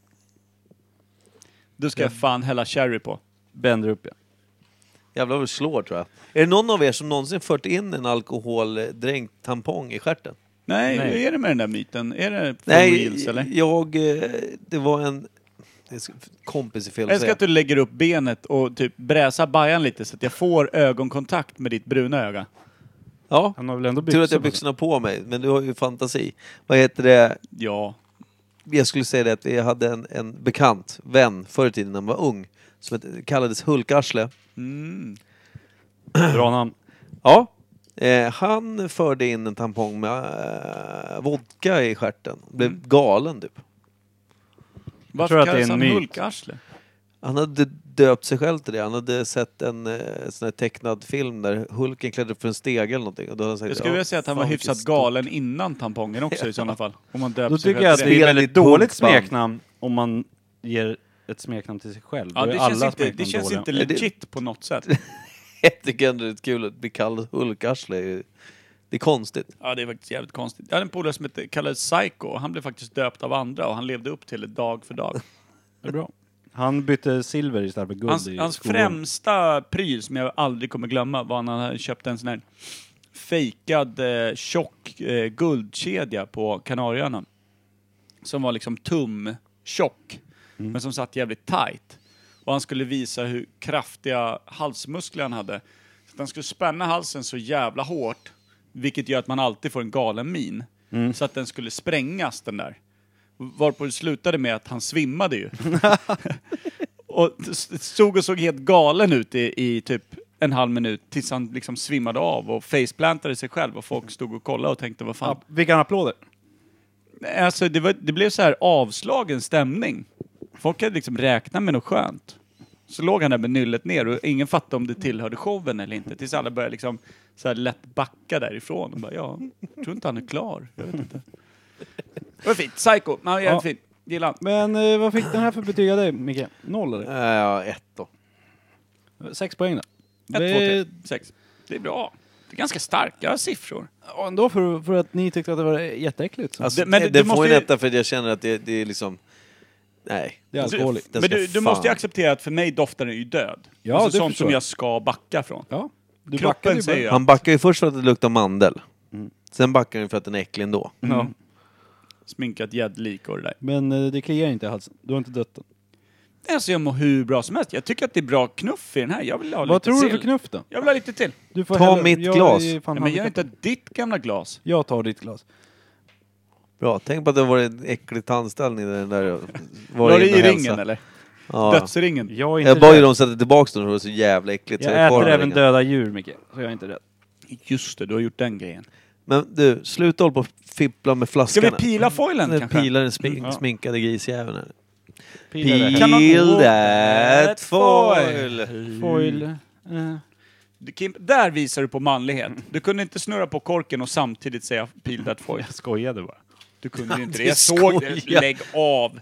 A: Du ska jag fan hälla sherry på.
H: Bänder upp ja.
B: Jävlar vad det slår tror jag. Är det någon av er som någonsin fört in en alkoholdränkt tampong i stjärten?
A: Nej,
H: Nej.
A: hur är det med den där myten? Är det for reals eller?
B: jag... eh, Det var en... det ska- Kompis är fel
A: Jag
B: att
A: älskar
B: säga.
A: att du lägger upp benet och typ bräsar bajan lite så att jag får ögonkontakt med ditt bruna öga.
B: Ja,
A: typ-
H: Han har väl ändå byxor
B: tur att jag har
H: på sig.
B: byxorna på mig, men du har ju fantasi. Vad heter det?
A: Ja.
B: Jag skulle säga det att jag hade en, en bekant, vän, förr i tiden när man var ung, som hette- kallades Hulkarsle.
A: Mm.
H: Bra namn.
B: Ja. Eh, han förde in en tampong med eh, vodka i stjärten. Blev
A: Mm.
B: galen typ.
A: Varför
H: tror att det är
A: kallas
H: en
A: han
H: myt.
A: Hulkarsle?
B: Han hade döpt sig själv till det. Han hade sett en eh, sån här tecknad film där Hulken klädde upp för en stege eller någonting. Och då hade han sagt,
A: Jag skulle
B: "Ja,
A: vilja säga att han
B: fan,
A: var
B: vilket
A: hyfsat
B: stort."
A: galen innan tampongen också i sådana fall. Om man döper
H: Då
A: sig
H: tycker
A: själv
H: jag att
A: till
H: det är ett
B: Spela
H: väldigt
B: ditt
H: dåligt
B: punkband.
H: smeknamn om man ger ett smeknamn till sig själv.
A: Ja,
H: Då är
A: det
H: alla
A: känns, inte, det
H: smeknamn
A: känns
H: dåliga.
A: inte
B: Ja, det-
A: legit på något sätt.
B: Jag tycker ändå det är kul att bli kallad Hulkarsle. är ju- Det är konstigt.
A: Ja, det är faktiskt jävligt konstigt. Jag hade en polare som hette- kallades Psycho och han blev faktiskt döpt av andra och han levde upp till det dag för dag.
H: Det är bra. Han bytte silver istället för guld
A: Hans,
H: i
A: hans
H: skolan.
A: främsta pryl som jag aldrig kommer glömma var när han hade köpt en sån här fejkad eh, tjock eh, guldkedja på Kanarieöarna. Som var liksom tum tjock,
H: Mm.
A: men som satt jävligt tight. Och han skulle visa hur kraftiga halsmuskler han hade. Så att han skulle spänna halsen så jävla hårt, vilket gör att man alltid får en galen min.
H: Mm.
A: Så att den skulle sprängas den där. Varpå det slutade med att han svimmade ju. <laughs> Och s- stod och såg helt galen ut i, i typ en halv minut tills han liksom svimmade av och faceplantade sig själv och folk stod och kollade och tänkte vad fan.
H: Ja, vilka applåder.
A: Nej, Alltså det, var, det blev så här avslagen stämning. Folk hade liksom räknat med något skönt. Så låg han där med nyllet ner och ingen fattade om det tillhörde showen eller inte tills alla började liksom så här lätt backa därifrån och bara ja, jag tror inte han är klar. Jag
H: <laughs>
A: vet inte. Det var fint. Psycho. Ja, jävligt
H: Ja.
A: fint. Gillar han.
H: Men eh, vad fick den här för betyg av dig, Micke? Noll eller?
B: Ja, ett då.
H: Sex poäng då.
A: Ett,
H: Det-
A: två, tre, sex. Det är bra. Det är ganska starka siffror.
H: Ja, ändå för, för att ni tyckte att det var jätteäckligt. Så.
B: Alltså,
A: Det-
B: det,
A: men det- du
B: får
A: måste
B: en
A: ju-
B: etta för att jag känner att det, det är liksom... Nej.
H: Det är alkohol i.
B: Den
A: Men
B: ska
A: Alltså, du, du
B: fan-
A: måste ju acceptera att för mig doftar den ju död.
H: Ja,
A: alltså
H: det
A: sånt
H: förstår
A: som
H: jag.
A: jag ska backa från.
H: ja, du
A: Kroppen
H: backade ju
A: säger
H: bara.
A: jag.
B: Han backar ju först för att det luktar mandel. Sen backar han ju för att den är äcklig ändå.
A: Mm.
H: Ja.
A: Sminkat gäddlik och det där.
H: Men eh, det kliar inte i halsen. Du har inte dött den.
A: Alltså jag mår hur bra som helst. Jag tycker att det är bra knuff i den här. Jag vill ha
H: Vad
A: lite
H: tror
A: till.
H: du för knuff då?
A: Jag vill ha lite till.
H: Du får
B: Ta
H: hälla-
B: mitt
H: jag
B: glas.
H: är fan
A: Nej, men gör inte
H: handikappad.
A: ditt gamla glas.
H: Jag tar ditt glas.
B: Bra, tänk på att det var en äcklig tandställning där den där var
A: Var det
B: inne och
A: i
B: hälsa.
A: ringen eller?
B: Ja.
A: Dödsringen.
H: Jag är inte
B: Jag bad ju
H: rädd.
B: dem sätta tillbaka den för det var så jävla äckligt. så
H: Jag
B: kvar
H: äter
B: den
H: även
B: ringen.
H: döda djur, Micke. Så jag är inte rädd.
A: Just det, du har gjort den grejen.
B: Men du, sluta hålla på och fippla med
A: Ska
B: flaskan.
A: vi
B: här.
A: pila foilen
B: Den
A: kanske?
B: pilar den smink-
A: Mm, ja.
B: sminkade grisjäveln här.
H: Pila det här.
A: Kanon.
B: Peel that foil!
H: Foil. eh,
A: Du, Kim, där visar du på manlighet. Du kunde inte snurra på korken och samtidigt säga peel that foil.
H: Jag skojade bara.
A: Du kunde ju inte det.
B: Du
A: Jag såg det.
B: skojar.
A: Lägg av!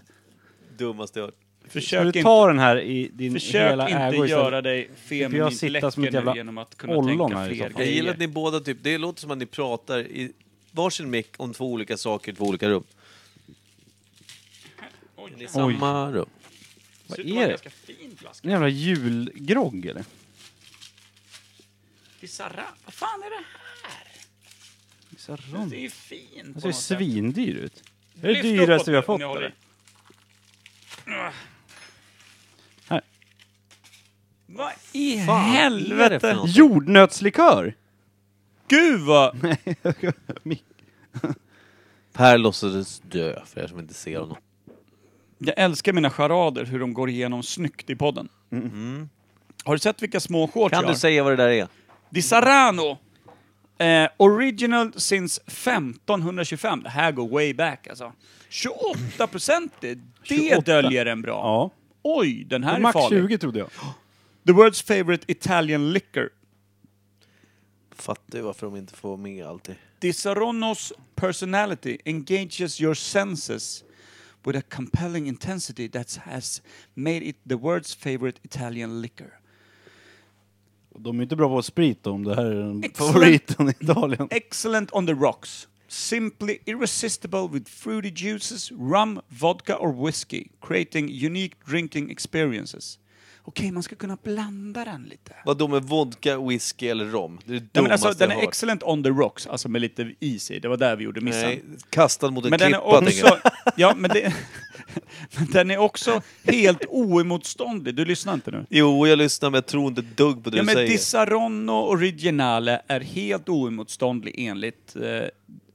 B: Dummaste jag hört.
C: Ska
A: Försök
C: du
A: inte,
C: ta den här i din
A: försök
C: hela
A: inte
C: ägo istället?
A: göra dig
C: Slipper jag
A: feminint
C: sitta
A: läcker
C: som ett jävla
A: nu genom att kunna
C: ollon
A: tänka
C: här i
A: fler
C: soffan?
B: Jag
A: grejer.
B: gillar att ni båda typ, det låter som att ni pratar i varsin mick om två olika saker i två olika rum. I samma rum.
C: Vad
A: Dessutom var det
C: är det?
A: ganska fin flaska.
C: En jävla julgrogg eller?
A: Bizarra. Vad fan är det här? Den ser
C: Den
A: ju fin
C: ser ju
A: något sätt.
C: svindyr ut. Det är det
A: Lyft uppåt
C: dyraste vi har
A: nu,
C: fått
A: om ni håller
C: eller?
A: i.
C: Här.
A: Vad i
B: Vad är det för
A: helvete?
B: något?
C: <laughs> Jordnötslikör!
A: Gud vad...
B: Per låtsades dö, för er som inte ser honom.
A: Jag älskar mina charader, hur de går igenom snyggt i podden.
B: Mm-hmm.
A: Har du sett vilka små shorts
B: Kan
A: jag
B: du
A: har?
B: säga vad det där är?
A: Di Sarano! Eh, original since 1525. Det här går way back alltså. 28 procent, det
C: 28.
A: döljer en bra.
C: Ja.
A: Oj, den här är
C: Max
A: farlig.
C: 20 trodde jag.
A: The world's favorite Italian liquor.
B: Fattar ju varför de inte får med alltid.
A: Di Saronos personality engages your senses with a compelling intensity that has made it the world's favorite Italian liquor.
C: De är ju inte bra på sprit om det här är den
A: Excellent.
C: favoriten i Italien.
A: Excellent on the rocks. Simply irresistible with fruity juices, rum, vodka or whiskey, creating unique drinking experiences. Okej, man ska kunna blanda den lite.
B: Vadå med vodka, whisky eller rom? Det är det
A: Nej, men
B: dummaste
A: alltså, den
B: jag
A: är
B: hört.
A: excellent on the rocks, alltså med lite is i. Det var där vi gjorde missen.
B: Nej, kastad mot en
A: Men den är
B: klippa, tänker
A: också...
B: jag.
A: Ja, men, det, <laughs> men den är också helt oemotståndlig. Du lyssnar inte nu?
B: Jo, jag lyssnar men jag tror inte ett dugg på det
A: Ja,
B: du
A: men
B: säger.
A: Disaronno Originale är helt oemotståndlig enligt eh, texten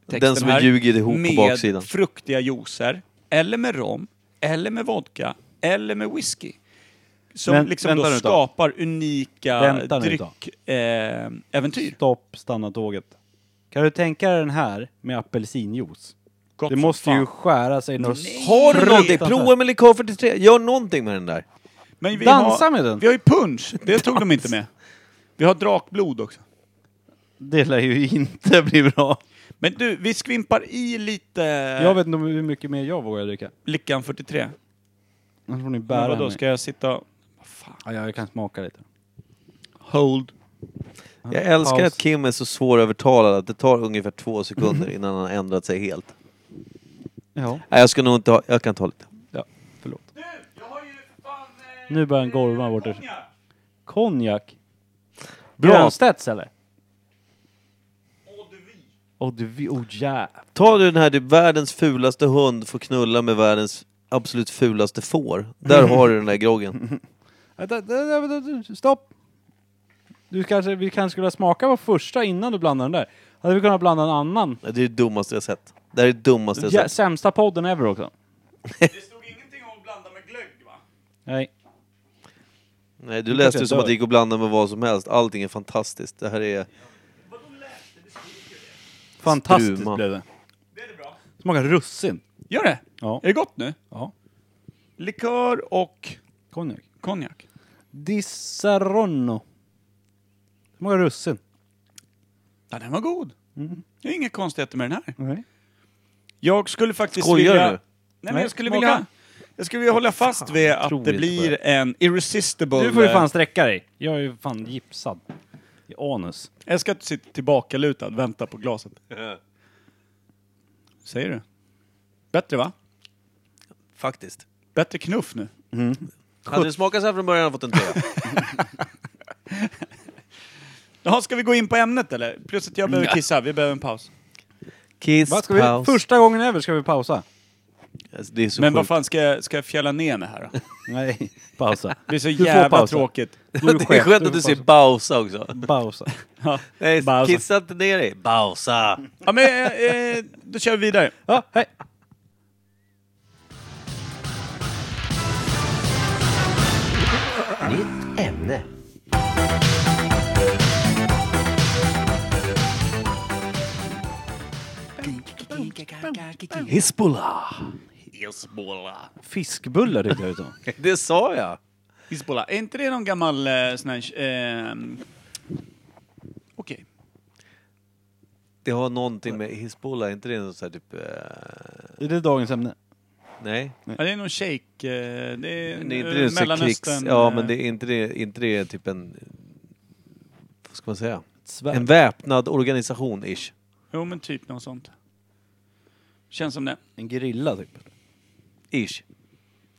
B: Den som är
A: här,
B: ljuger ihop på
A: med
B: baksidan.
A: fruktiga juicer, eller med rom, eller med vodka, eller med whisky. Som
C: Men-
A: liksom
C: vänta
A: då
C: nu ett tag.
A: skapar unika
C: Vänta nu ett tag.
A: dryckäventyr. Eh, äventyr.
C: Stopp, stanna tåget. Kan du tänka dig den här med apelsinjuice?
A: Gott
C: Det
A: som
C: måste
A: fan.
C: ju skära sig några
A: Nej.
B: Har du någonting?
C: fruktansvärt.
B: Prova med likör 43. Gör någonting med den där.
A: Men vi
C: Dansa
A: har,
C: med den.
A: Vi har ju punch, det tog de inte med. Vi har drakblod också.
C: Det lär ju inte bli bra.
A: Men du, vi skvimpar i lite
C: Jag vet inte hur mycket mer jag vågar dricka.
A: Lyckan 43.
C: Annars får ni
A: Men
C: bära
A: vadå,
C: mig.
A: ska jag sitta och... Vad fan?
C: Ja, jag kan smaka lite.
A: Hold.
B: Jag älskar
C: Paus.
B: att Kim är så svårövertalad att det tar ungefär två sekunder innan han har ändrat sig helt.
C: Mhm. Ja,
B: Nej, jag ska nog inte ha... Jag kan ta lite.
C: ja förlåt.
A: Du, jag har ju fan... Eh,
C: Nu börjar han gorma här borta.
A: konjak.
C: Konjak.
B: Bra.
C: Grönstedts eller? Åh, du vi...
B: oh,
C: Åh, jävlar.
B: Tar du den här typ världens fulaste hund får knulla med världens absolut fulaste får. Där har du den där
C: <laughs>
B: groggen.
C: Vänta, vänta, vänta, vänta, Stopp! Du kanske, vi kanske skulle ha smakat på första innan du blandade den där. Hade vi kunnat blanda en annan?
B: Det är det dummaste jag sett. Det här är det dummaste jag
C: Ja,
B: sett.
C: sämsta podden ever också.
A: Det stod ingenting om att blanda med glögg, va?
C: Nej.
B: Nej, du läste
C: jag
B: ju som att
C: dör.
B: det gick att blanda med vad som helst. Allting är fantastiskt. Det här är...
C: Fantastiskt
B: Struma.
C: blev det. Det är det bra. Smakar russin.
A: Gör det?
C: Ja.
A: Är det gott nu?
C: Ja.
A: Likör och
C: Konjak.
A: konjak.
C: Disaronno. Smakar russin.
A: Ja, den var god.
C: Mm.
A: Det är inga konstigheter med den här.
C: Nej.
A: Jag skulle faktiskt
B: Skojar
A: vilja...
B: du nu?
A: Nej, men
C: Nej,
A: jag skulle
C: smaka.
A: vilja... Jag skulle vilja hålla fast vid
B: tror
A: att det
B: inte på
A: blir en irresistible...
C: Du får ju
A: eh,
C: fan sträcka dig. Jag är ju fan gipsad. I anus.
A: Jag ska sitta tillbakalutad och vänta på
C: <laughs>
A: glaset. Säger du? Bättre va?
B: Faktiskt.
A: Bättre knuff nu.
B: Hade det smakat så här från början hade jag fått en trea.
A: Jaha, ska vi gå in på ämnet eller? Plus att jag behöver kissa, vi behöver en paus.
B: Kiss,
C: Vad ska vi,
B: paus.
C: första gången ever ska vi pausa.
B: Alltså, det är så
A: Men vad
B: sjukt.
A: fan, ska jag, ska jag fjälla ner mig här då?
C: Nej. <laughs> Pausa.
A: Det är så
C: får
A: jävla
C: pausa.
A: tråkigt.
B: <laughs>
C: Du
B: Det är skönt att du säger bausa också.
C: pausa.
B: Nej,
C: Bausa.
B: kissa inte ner dig. Bausa.
A: Ja men eh, eh, då kör vi vidare.
C: Ja, hej.
B: Hizbullah.
C: Fiskbullar tyckte jag utom.
B: Det sa jag.
A: Hizbollah, är inte det någon gammal eh, sån här... Eh, Okej.
B: Det har någonting med Hizbullah, är inte det något så här typ... eh,
C: Är det dagens ämne?
B: Nej.
A: Ja, det är någon shake... eh, Det är,
B: Men det är inte
A: eh,
B: det så här krigs...
A: Mellanöstern...
B: Ja,
A: eh,
B: men det är inte det, inte det typ en... Vad ska man säga? En
H: Svärd.
B: väpnad organisation, ish.
A: Jo, men typ något sånt. Känns som det.
C: En grilla typ.
B: Ish.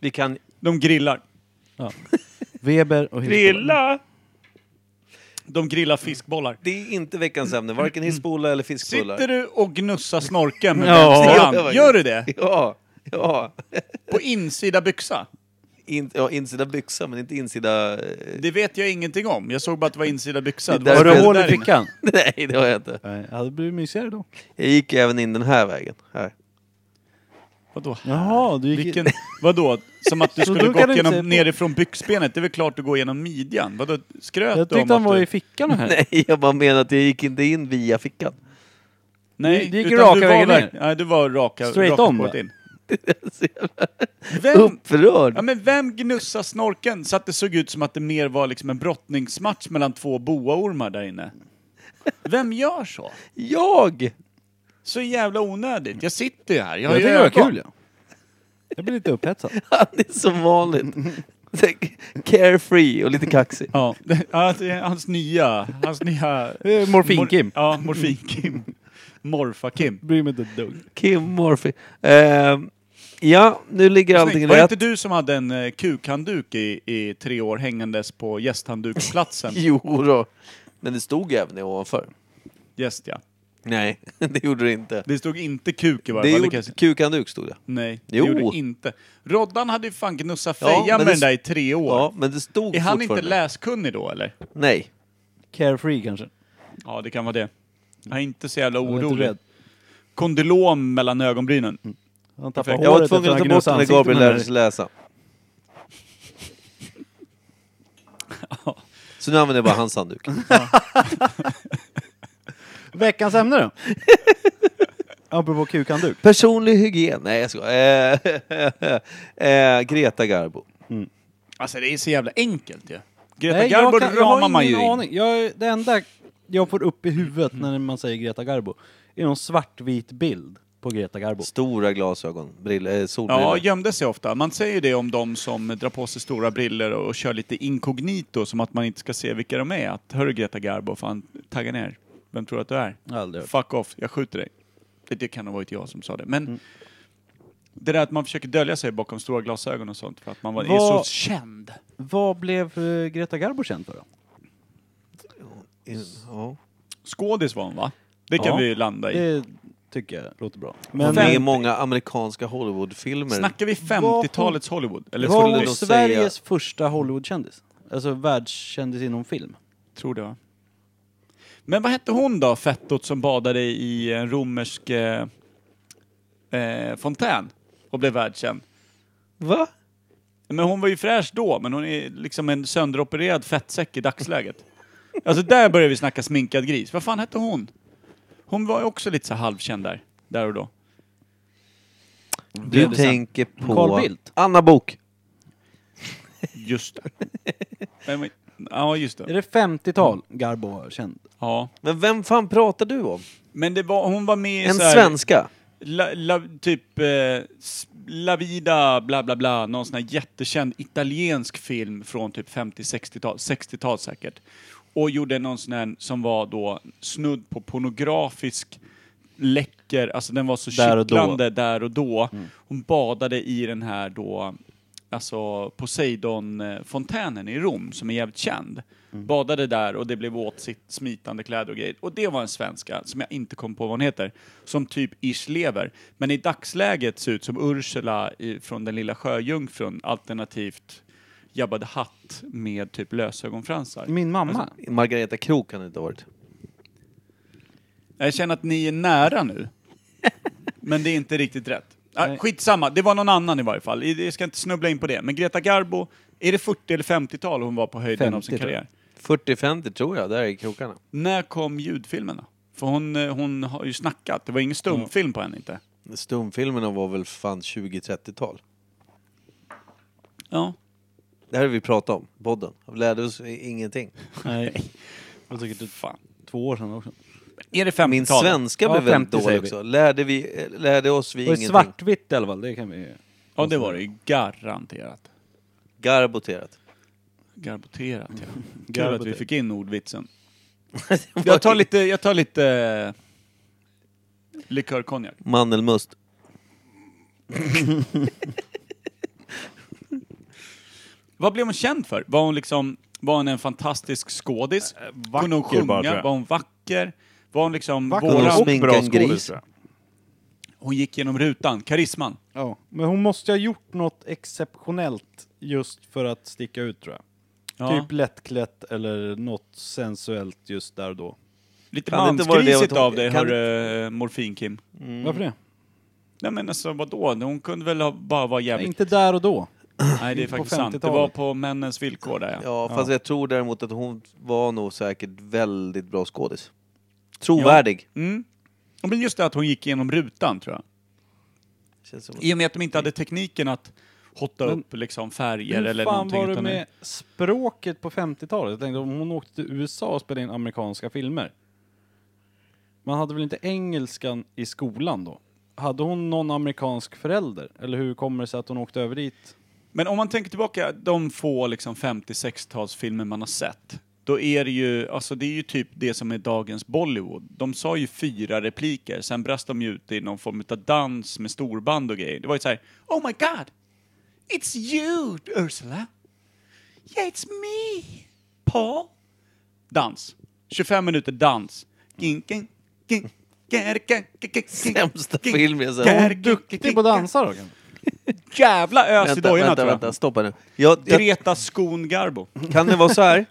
B: Vi kan...
A: De grillar.
C: <laughs> Weber och
A: De grillar fiskbollar.
B: Det är inte veckans ämne, varken hissbullar eller fiskbullar.
A: Sitter du och gnussar snorken <laughs> med
B: Ja.
A: vänsterhand? Gör du det?
B: Ja, ja.
A: På insida byxa?
B: In, ja. Insida byxa, men inte insida... eh,
A: Det vet jag ingenting om. Jag såg bara att det var insida byxa. Det
B: Det är
A: var
C: Har du
B: därför-
A: där
C: hål i
A: inne.
C: fickan?
B: <laughs> Nej, det har jag inte.
C: Nej, ja, det blir mysigare då.
B: Jag gick ju även in den här vägen. Här. <laughs>
A: Vadå?
C: Jaha, du gick
A: Vilken, vadå? Som att du
C: Så
A: skulle
C: då kan
A: gått
C: du inte se
A: genom,
C: på-
A: nerifrån byxbenet? Det är väl klart du går genom midjan? Vadå? Skröt
C: Jag
A: du om
C: tyckte han
A: att
C: var
A: du...
C: i fickan <laughs> här.
B: Nej, jag bara menar att jag gick inte in via fickan. <laughs>
A: Nej,
C: Det gick
A: utan
C: raka
A: du var
C: vägen
A: verk-
C: ner.
A: Nej, du var raka...
C: Straight
A: raka
C: on,
A: spåret
C: va?
A: in.
B: Så jävla
A: Vem, ja,
B: Upprörd!
A: men vem gnussar snorken så att det såg ut som att det mer var liksom en brottningsmatch mellan två boaormar där inne? Vem gör så?
B: Jag! <laughs>
A: Så jävla onödigt. Jag sitter ju här. Jag,
C: Jag
A: har ju
C: tyckte det var
A: ögon.
C: kul ja. Jag blir lite upphetsad.
B: Han är som vanligt. <laughs> Så här, Carefree och lite kaxig.
A: Ja, ja, det är hans nya... Hans nya...
C: Eh, Morfin-Kim.
A: Mor- Ja,
C: <laughs>
A: Morfin-Kim. Morfa-Kim.
C: <laughs> Bryr mig inte ett dugg.
B: Kim Morphy. Ehm, ja, nu ligger allting
A: Snyggt. Var det
B: rätt.
A: inte du som hade en eh, kukhandduk i, i tre år hängandes på
B: <laughs>
A: gästhandduksplatsen?
B: Jo då. Men det stod även det ovanför.
A: Gäst, ja.
B: Nej, <laughs> det gjorde det inte.
A: Det stod inte kuk i varje
B: Det
A: fall. Det kan
B: gjorde
A: jag säga.
B: kukanduk stod det.
A: Nej,
B: Jo.
A: det gjorde det inte. Roddan hade ju fan gnussat
B: Ja,
A: feja med
B: men det-
A: den där i tre år.
B: Ja, men det stod
A: är han inte
B: fortfarande.
A: läskunnig då, eller?
B: Nej.
C: Carefree kanske.
A: Ja, det kan vara det. Jag är inte så jävla
C: Jag var inte
A: orolig.
C: rädd.
A: Kondylom mellan ögonbrynen.
C: Han tappade
A: Perfekt.
C: håret
B: Jag var
C: efter
B: tvungen att
C: han
B: ta bort
C: gnussade
B: den när
C: ansiktet
B: Gabriel
C: med den
B: lärde sig <laughs>
C: där.
B: läsa. Så nu använder jag bara hans handduk.
C: Veckans
B: <laughs>
C: ämne då? Apropå
B: <laughs>
C: kukhandduk.
B: Personlig hygien. Nej, jag skojar. Eh, <laughs> eh, Greta Garbo.
A: Alltså, det är så jävla enkelt ju. Greta
C: Nej, jag
A: Garbo
C: kan- jag har
A: ramar man ju
C: ingen
A: in. Mm.
C: aning. Jag, det enda jag får upp i huvudet när man säger Greta Garbo är någon svartvit bild på Greta Garbo.
B: Stora glasögon. Brille, eh,
A: Ja,
B: solbrillor.
A: gömde sig ofta. Man säger ju det om de som drar på sig stora briller och kör lite inkognito, som att man inte ska se vilka de är. Att, hörru Greta Garbo, fan, tagga ner. Vem tror du att du är?
C: Aldrig hört.
A: Fuck off, jag skjuter dig. Det, det kan ha varit jag som sa det, men
C: Mm.
A: det där att man försöker dölja sig bakom stora glasögon och sånt för att man var, är så
C: Vad-
A: känd.
C: Vad blev eh, Greta Garbo känd för då?
B: In- ja.
A: Skådis var hon va? Det kan
C: Ja.
A: vi ju landa i.
C: Det tycker jag låter bra.
B: Hon
C: Men
B: är med i
C: eh,
B: många amerikanska Hollywoodfilmer.
A: Snackar vi 50-talets Hollywood? Eller
C: var
A: 40?
C: hon
B: nog säga-
C: Sveriges första Hollywoodkändis? Alltså världskändis inom film?
A: Tror det va? Men vad hette hon då, fettot som badade i en romersk eh, eh, fontän och blev världskänd?
B: Va?
A: Men hon var ju fräsch då, men hon är liksom en sönderopererad fettsäck i dagsläget. Alltså där börjar vi snacka sminkad gris. Vad fan hette hon? Hon var ju också lite så här halvkänd där, där och då.
B: Du tänker på...
C: Mm, Carl Bildt.
B: Anna Bok.
A: Just det. Men, men, ja, Mm. just
C: Är
A: det.
C: det 50-tal Garbo var känd?
A: Ja.
B: Men vem fan pratar du om?
A: Men det var, hon var med i
B: En
A: så här-
B: svenska?
A: La, la, typ eh, s- La Vida, bla bla bla, någon sån här jättekänd italiensk film från typ 50-60-tal, 60-tal säkert. Och gjorde någon sån här som var då snudd på pornografisk, läcker, alltså den var så
C: Där och då.
A: kittlande där och då. Hon badade i den här då, alltså Poseidon-fontänen i Rom som är jävligt känd. Badade där och det blev åt sitt smitande kläder och grejer. Och det var en svenska, som jag inte kom på vad hon heter, som typ ish lever. Men i dagsläget ser ut som Ursula i, från Den lilla sjöjungfrun, alternativt Jabba the Hutt med typ lösögonfransar.
C: Min
A: Alltså,
C: mamma?
B: Margareta Krok kan det inte ha varit.
A: Jag känner att ni är nära
C: <laughs>
A: nu. Men det är inte riktigt rätt. Ah,
C: Nej.
A: skitsamma, det var någon annan i varje fall. I- Jag ska inte snubbla in på det. Men Greta Garbo, är det 40 eller 50-tal hon var på höjden av
C: 50,
A: sin
C: tror jag.
A: karriär?
B: 40-50 tror jag, där är krokarna.
A: När kom ljudfilmerna? För hon, eh, hon har ju snackat, det var ingen stumfilm på henne inte.
B: Stumfilmerna var väl fan 20-30-tal.
A: Ja.
B: Det här har vi pratat om, podden. Vi lärde oss i- ingenting.
A: <laughs>
C: Nej. Det var säkert
A: Fan.
C: två år sedan också.
A: Är det
B: Min
A: 50-tal?
B: svenska
C: Ja,
B: blev väldigt
C: 50 säger
B: dålig
C: vi.
B: också. Lärde, vi, eh, lärde oss vi
C: Det var
B: ingenting.
C: svartvitt i alla fall, det kan vi
A: Ja, det var det ju. Garanterat.
B: Garboterat.
A: Garboterat, ja. <laughs> Kul att vi fick in
B: <laughs>
A: ordvitsen.
B: Det var
A: Jag tar lite, jag tar lite eh, likörkonjak.
B: Mandelmust.
A: Vad blev hon känd för? Var hon liksom, var hon en fantastisk skådis?
B: Eh,
A: Kunde hon
I: vacker
A: sjunga?
I: bara, tror jag.
A: var hon vacker? Var hon liksom
C: Vacker.
A: våran?
B: Hon
I: Och
B: sminkar
I: bra
B: en gris.
I: skådis, tror jag.
A: Hon gick genom rutan. Karisman.
C: Ja. Men hon måste ju ha gjort något exceptionellt just för att sticka ut tror jag.
A: Ja.
C: Typ lättklätt eller något sensuellt just där och då.
A: Lite
B: Kan det inte vara det
A: mansgrisigt
B: att hon-
A: av dig,
B: kan-
A: hörru eh, Morfin-Kim.
C: Mm. Varför det?
A: Nej men alltså vadå? Hon kunde väl ha, bara vara
C: Nej,
A: jävligt...
C: inte där och då.
A: Nej det är faktiskt sant. Det
C: 50-talet.
A: var på männens villkor där ja.
B: Ja, fast jag tror däremot att hon var nog säkert väldigt bra skådis. Trovärdig.
A: Mm. Ja, Men just det att hon gick genom rutan tror jag.
B: Känns som...
A: I och med att de inte hade tekniken att hotta
C: Men-
A: upp liksom färger
C: Hur
A: eller
C: fan
A: någonting.
C: var det
A: utan
C: med språket på 50-talet? Jag tänkte om hon åkte till USA och spelade in amerikanska filmer. Man hade väl inte engelskan i skolan då? Hade hon någon amerikansk förälder? Eller hur kommer det sig att hon åkte över dit?
A: Men om man tänker tillbaka de få liksom 50-60-talsfilmer man har sett. Då är det ju, alltså det är ju typ det som är dagens Bollywood. De sa ju fyra repliker, sen brast de ju ut i någon form av dans med storband och grejer. Det var ju så här, Oh my god! It's you, Ursula! Yeah, it's me! Paul! Dans. 25 minuter dans. Ging, ging, ging, gär, gär, gär, gär,
B: Sämsta
A: ging,
B: film jag sett.
A: gär,
B: Hon
A: gär,
C: Duktig på att dansa då kanske?
A: Jävla ös i
B: Vänta,
A: dojorna
B: vänta,
A: tror jag.
B: vänta, stoppa nu. Jag, jag
A: Greta Skon Garbo.
B: Kan det vara
A: <laughs>
B: så här?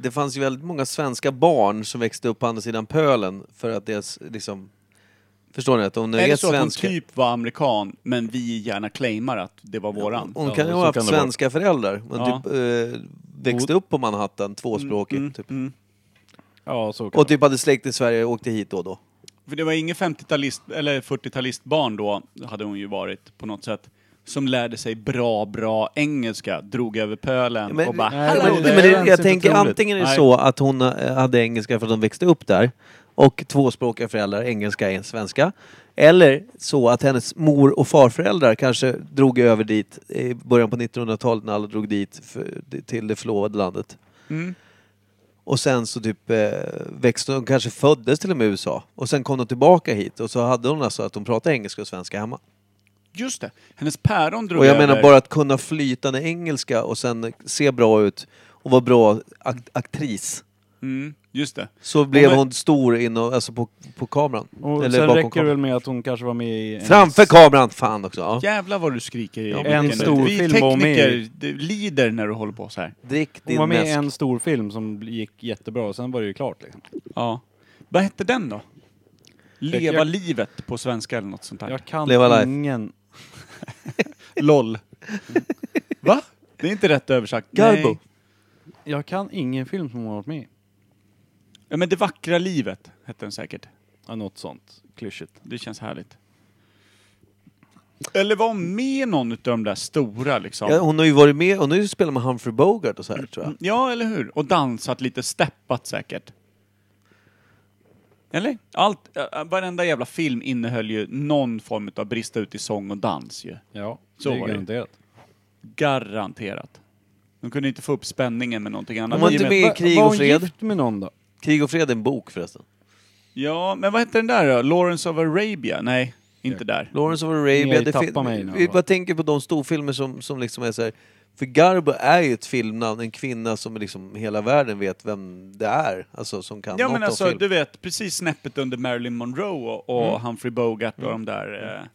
B: Det fanns ju väldigt många svenska barn som växte upp på andra sidan pölen för att deras, liksom... Förstår ni? Att om det
A: Är
B: är,
A: det så att hon
B: svenska...
A: typ var amerikan, men vi gärna claimar att det var våran?
B: Hon kan ju
H: Ja,
B: ha
H: så
B: haft
H: kan det vara.
B: svenska föräldrar. Hon
A: Ja.
B: typ eh, växte upp på Manhattan, tvåspråkig.
H: Mm,
B: typ.
C: Ja, så kan
B: Och typ hade släkt i Sverige och åkte hit då och då.
A: För det var ingen 50-talist, eller 40-talistbarn då, hade hon ju varit på något sätt, som lärde sig bra, bra engelska, drog över pölen
B: Men,
A: och bara
C: nej,
A: "Hello
B: men,
A: there."
B: men det,
C: ens
B: jag
C: inte
B: tänker
C: troligt.
B: antingen är det
A: Nej.
B: så att hon eh, hade engelska för att hon växte upp där och tvåspråkiga föräldrar, engelska är svenska. Eller så att hennes mor och farföräldrar kanske drog över dit i början på 1900-talet när alla drog dit för, till det förlovade landet.
A: Mm.
B: Och sen så typ eh, växte hon, kanske föddes till och med i USA. Och sen kom de tillbaka hit och så hade hon alltså att de pratade engelska och svenska hemma.
A: Just det, hennes päron drog
B: Och jag
A: över.
B: menar bara att kunna flytande engelska och sen se bra ut och vara bra ak- aktris.
A: Mm, just det.
B: Så blev
A: men-
B: hon stor inom, alltså på, på kameran.
C: Och
B: Eller
C: sen
B: bakom
C: räcker det väl
B: kameran.
C: med att hon kanske var med i... en-
B: Framför kameran! Fan också! Ja.
A: Jävlar vad du skriker i
B: Ja,
A: micken.
C: en stor
A: Vi
C: film var hon med i.
A: tekniker du lider när du håller på så här.
B: Drick
C: Hon var
B: din
C: med i
B: mäsk.
C: en stor film som gick jättebra och sen var det ju klart liksom.
A: Ja. Vad hette den då? Leva
C: jag-
A: livet på svenska eller något sånt där.
C: Jag kan
B: Live Alive.
C: ingen...
A: LOL. Va? Det är inte rätt översatt.
B: Garbo.
A: Nej.
C: Jag kan ingen film som hon har varit med i.
A: Ja, men Det vackra livet hette den säkert.
C: Ja, något sånt. Klyschigt.
A: Det känns härligt. Eller var hon med i någon utav de där stora liksom.
B: Ja, hon har ju varit med, hon har ju spelat med Humphrey Bogart och så här tror jag.
A: Ja, eller hur? Och dansat lite, steppat säkert. Eller? Allt, äh, varenda jävla film innehöll ju någon form av brista ut i sång och dans ju.
C: Ja,
A: Så
C: så det är
A: var det.
C: garanterat.
A: Garanterat. De kunde inte få upp spänningen med någonting annat.
B: Hon var
A: I och
B: inte
A: med-
B: med i Krig
C: var
B: och
C: hon
B: fred.
C: gift med någon då?
B: Krig och fred är en bok förresten.
A: Ja, men vad hette den där då? Lawrence of Arabia? Nej, inte där.
B: Lawrence of Arabia.
C: Ni
B: Det
C: tappar
B: fin-
C: mig nu,
B: vi
C: va?
B: bara tänker på de storfilmer som, som liksom är så här. För Garbo är ju ett filmnamn, en kvinna som liksom hela världen vet vem det är. Alltså som kan
A: Ja
B: något
A: men
B: om
A: alltså,
B: film. Mm.
A: du vet, precis snäppet under Marilyn Monroe och, och Humphrey Bogart och de där...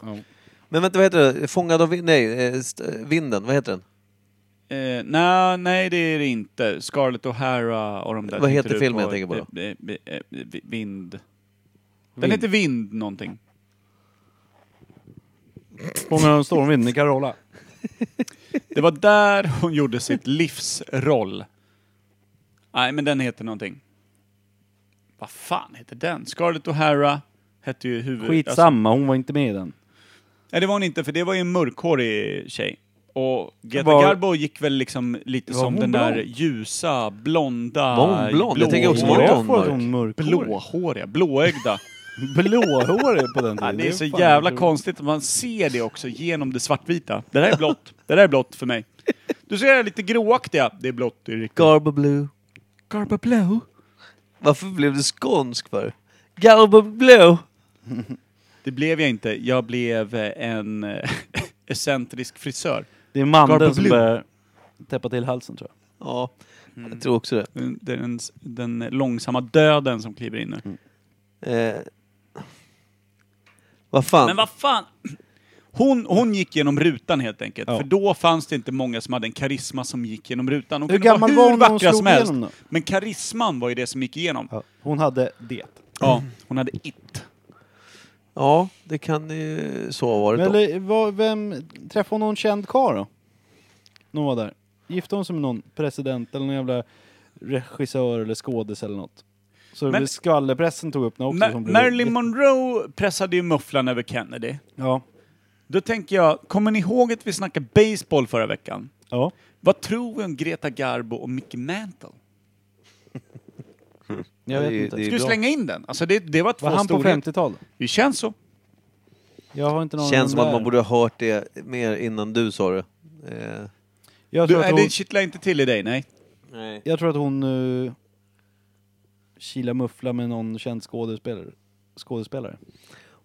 B: Men vänta, vad heter det? Fångad av vind? Nej, eh, st- eh, vinden. Vad heter den?
A: Eh, eh, nej, nej det är det inte. Scarlett O'Hara och de där...
B: Vad
A: tänkte
B: heter
A: du
B: filmen jag tänker på då?
A: Eh, eh, eh, vi- Vind. Den heter Vind någonting.
C: Fångar av en stormvind, Nicarola.
A: Det var där hon gjorde
B: <laughs>
A: sitt livsroll. Nej, men den heter någonting. Vad fan heter den? Scarlett O'Hara hette ju huvud... alltså-
C: Skitsamma, hon var inte med i den.
A: Nej det var hon inte, för det var ju en mörkhårig tjej. Och Greta
C: Var-
A: Garbo gick väl liksom lite
C: Var
A: som
C: hon
A: den där
C: blond?
A: ljusa, blonda...
B: Var hon blond? Jag
A: blå-
B: tänker också, var
C: Var
B: inte
C: det
B: hon
C: för att
B: mörk?
C: hon mörk?
A: Blåhåriga, blåögda.
C: Blåhårig på den
A: <laughs> Ja,
C: tiden.
A: det är så
C: fan
A: jävla
C: otroligt.
A: konstigt att man ser det också genom det svartvita. Det där är blått. Det där är blått för mig. Du ser det lite gråaktiga. Det är blått. Det är riktigt.
B: Garbo Blue.
A: Garba blå.
B: Varför blev du skånsk för? Garbo Blue.
A: Det blev jag inte. Jag blev eh, en eh, <laughs> excentrisk frisör.
C: Det är
A: Garbo
C: mandeln som
A: Blue.
C: börjar täppa till halsen tror jag.
B: Ja, jag tror också det.
A: Den, den, den långsamma döden som kliver in nu.
B: Eh. Vad fan?
A: Men vad fan! Hon, hon gick genom rutan helt enkelt.
C: Ja.
A: För då fanns det inte många som hade en karisma som gick genom rutan. Hon
C: Hur
A: kunde
C: gammal
A: vara hur
C: var hon när hon
A: vackra
C: slog
A: som helst.
C: igenom då?
A: Men karisman var ju det som gick igenom. Ja,
C: Hon hade det.
A: hon hade it.
B: Ja, det kan ju så ha varit då.
C: Eller vad, vem, träffade hon någon känd karl då? När hon var där. Gifte hon sig med någon president eller någon jävla regissör eller skådis eller något? Så
A: Men-
C: Men, skvallerpressen tog upp när också.
A: Ma-
C: som blev-
A: Marilyn Monroe pressade ju mufflan över Kennedy.
C: Ja.
A: Då tänker jag, kommer ni ihåg att vi snackade baseball förra veckan?
C: ja.
A: Vad tror vi om Greta Garbo och Mickey Mantle?
C: Jag vet
B: Det är-
C: inte.
B: det är-
A: Ska du
B: bra.
A: slänga in den? Alltså det, det var två
C: Var han på
A: storheter.
C: 50-talet?
A: Det känns så.
C: Jag har inte någon
B: Känns
C: om
B: som att
C: där.
B: man borde ha hört det mer innan du sa det. Eh.
C: Jag
A: Du,
C: tror, att
A: nej,
C: hon,
A: det kittlar inte till i dig, nej.
B: Nej.
C: jag tror att hon uh, kilar muffla med någon känd skådespelare. skådespelare.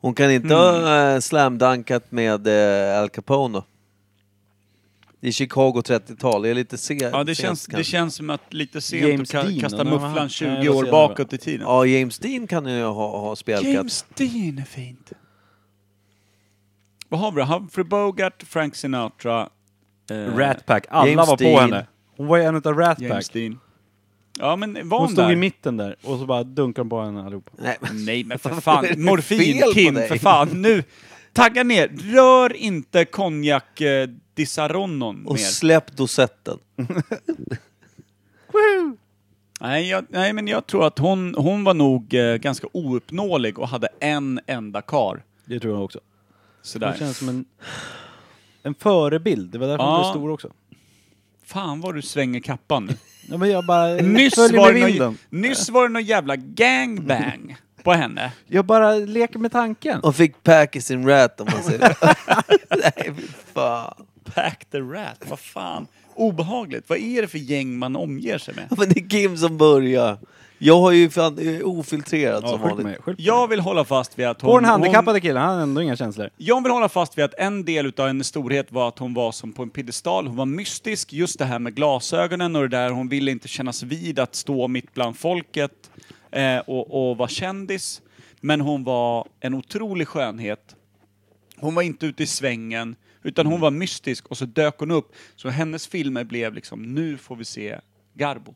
B: Hon kan inte
A: Mm.
B: ha eh, slamdankat med eh, Al Capone då? I Chicago 30-tal, det är lite se
A: Ja, det, känns,
B: sent
A: det
B: kanske.
A: känns som att lite sent
C: James
A: att ka-
C: Dean,
A: kasta
C: eller vad
A: mufflan
C: han-
A: 20
C: nej, vad
A: år
C: säger jag?
A: bakåt i tiden.
B: Ja, James Dean kan ju ha, ha spjälkat.
A: James Dean är fint. Vad har vi då? Humphrey Bogart, Frank Sinatra, eh,
C: Rat Pack, alla
B: James
C: var på
B: Dean.
C: henne. Hon var en utav Rat Pack.
A: James Dean. Ja, men var
C: Hon
A: hon
C: stod
A: där?
C: i mitten där och så bara dunkade de på henne allihopa.
B: Nej, men-
A: Nej, men för
C: <laughs>
B: Vad är det
A: fan.
B: för
A: Morfin,
B: fel på
A: Kim,
B: dig?
A: för fan. Nu, tagga ner. Rör inte konjak eh, disaronnon
B: och
A: mer.
B: släpp dosetten.
A: Nej, jag, nej, men jag tror att hon, hon var nog eh, ganska ouppnåelig och hade en enda kar.
C: Det tror jag också.
A: Sådär.
C: Hon känns som en, en förebild. Det var därför hon
A: Ja.
C: blev stor också.
A: Fan vad du svänger kappan nu.
C: Ja, men jag bara
A: Nyss
C: följer
A: var,
C: med
A: det
C: vinden.
A: någon, nyss var det någon jävla gangbang på henne.
C: Jag bara leker med tanken.
B: Och fick pack i sin rat om
A: <laughs>
B: man säger Nej, fy fan.
A: Pack the rat, vad fan. Obehagligt. Vad är det för gäng man omger sig med?
B: Ja, Men det är Kim som börjar. Jag har ju fan, jag är ofiltrerad
C: Ja,
B: som
C: skjut
B: vanligt.
C: mig. Skjut mig.
A: Jag vill hålla fast vid att hon...
C: På den
A: hon-
C: handikappade killen, han har ändå inga känslor.
A: Jag vill hålla fast vid att en del utav hennes storhet var att hon var som på en piedestal. Hon var mystisk, just det här med glasögonen och det där. Hon ville inte kännas vid att stå mitt bland folket eh, och, och vara kändis. Men hon var en otrolig skönhet. Hon var inte ute i svängen, utan hon var mystisk och så dök hon upp. Så hennes filmer blev liksom, nu får vi se Garbo.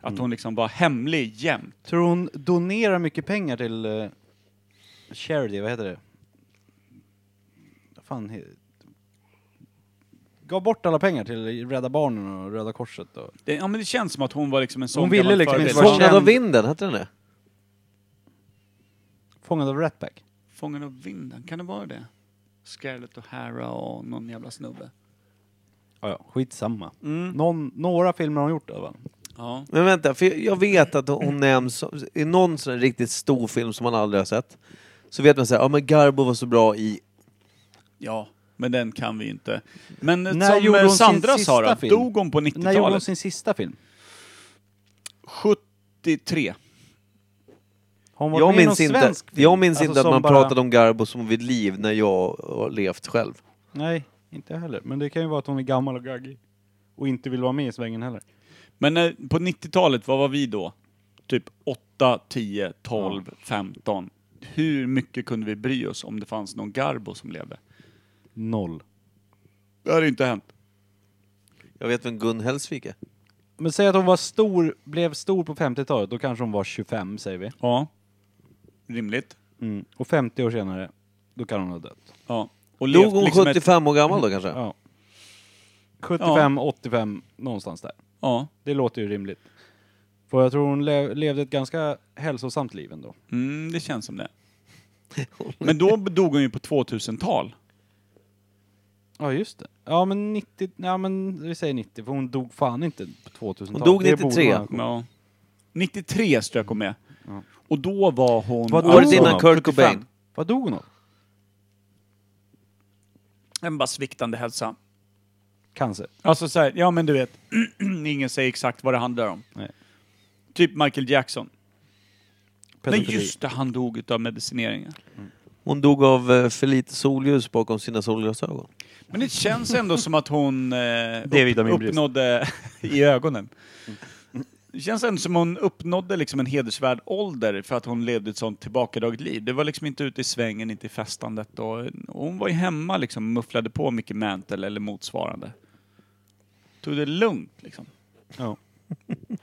A: Att
C: Mm.
A: hon liksom var hemlig jämt.
C: Tror hon donerar mycket pengar till eh, charity, vad heter det? Vad Fan, he- gav bort alla pengar till Rädda Barnen och Röda Korset. Och...
A: Det, ja, men det känns som att hon var liksom en sån
C: Hon ville
A: gammal
C: liksom
A: förebild.
C: inte vara
B: Fångad av
C: känd.
B: vinden, hette den det?
C: Fångad av Ratback.
A: Fångad av vinden, kan det vara det? Scarlett O'Hara och någon jävla snubbe.
C: Ja, Mm. ja, skitsamma. Någon, några filmer har hon gjort i alla fall.
A: Ja.
B: Men vänta, för jag- jag vet att hon nämns som- i någon sån här riktigt stor film som man aldrig har sett. Så vet man såhär, ja men Garbo var så bra i...
A: ja, men den kan vi ju inte. Men
C: När
A: När som
C: gjorde
A: eh,
C: hon sin
A: Sandra
C: sista
A: sa då,
C: film?
A: dog hon på
C: När gjorde hon
A: 90-talet?
C: sin sista film?
A: 73.
C: Har hon varit
B: Jag
C: med i
B: minns,
C: någon
B: inte,
C: svensk film?
B: jag minns
C: Alltså
B: inte att
C: som
B: man
C: bara-
B: pratade om Garbo som vid liv när jag har levt själv.
C: Nej, inte jag heller. Men det kan ju vara att hon är gammal och gaggig. Och inte vill vara med i svängen heller.
A: Men eh, på 90-talet, vad var vi då? Typ 8, 10, 12, 15. Hur mycket kunde vi bry oss om det fanns någon Garbo som levde?
C: Noll.
A: Det hade ju inte hänt.
B: Jag vet vem Gun Hellsvik är.
C: Men säg att hon var stor, blev stor på 50-talet, då kanske hon var 25 säger vi.
A: Ja. Rimligt.
C: Mm. Och 50 år senare, då kan hon ha dött.
A: Ja. Och
B: Dog
A: levt
B: hon
A: liksom ett-
B: 75 år gammal då kanske?
C: Mm. Ja. 75, 85, någonstans där.
A: Ja.
C: Det låter ju rimligt. För jag tror hon le- levde ett ganska hälsosamt liv ändå.
A: Mm, det känns som det. Men då dog hon ju på 2000-tal.
C: Ja just det. Ja men 90, ja men vi säger 90 för hon dog fan inte på 2000-talet.
B: Hon dog
C: Det borde
B: 93.
C: man-
A: Ja. 93 strök hon med. Och då var hon...
C: Vad
B: Året
C: Alltså,
B: innan Kurt
A: 75.
B: Cobain.
C: Vad dog hon av?
A: En bara sviktande hälsa.
C: Cancer.
A: Alltså så här, ja men du vet, <clears throat> ingen säger exakt vad det handlar om.
C: Nej.
A: Typ Michael Jackson. Nej
C: Pedofili.
A: just det, han dog utav medicineringen.
B: Hon dog av eh, för lite solljus bakom sina solglasögon.
A: Men det känns ändå som att hon eh, upp,
C: D-vitaminbrist.
A: uppnådde <laughs> i ögonen. Det känns ändå som hon uppnådde liksom en hedersvärd ålder för att hon levde ett sånt tillbakadraget liv. Det var liksom inte ute i svängen, inte i festandet. Och, och hon var ju hemma liksom och mufflade på mycket mantel eller motsvarande. Tog det lugnt liksom.
C: Ja.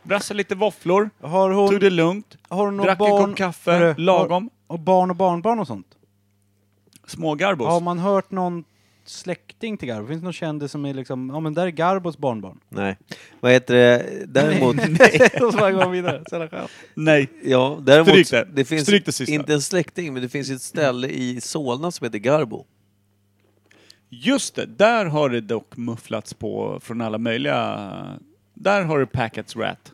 A: Brassade lite våfflor,
C: Har
A: tog
C: hon,
A: det lugnt,
C: har hon några
A: drack en
C: barn,
A: kopp kaffe,
C: Hörru,
A: lagom.
C: har, och barn och barnbarn och sånt?
A: Små garbos.
C: Har man hört någon släkting till Garbo? Finns det någon kändis som är liksom, ja men där är Garbos barnbarn?
B: Nej. Vad heter det? Däremot...
C: <laughs> Och så bara går man vidare. Så jävla skönt.
A: Nej.
B: Ja, däremot,
A: Stryk det.
B: finns
A: Stryk det sista.
B: inte en släkting, men det finns ett ställe i Solna som heter Garbo.
A: Just det, där har det dock mufflats på från alla möjliga... Där har du Packets Rat.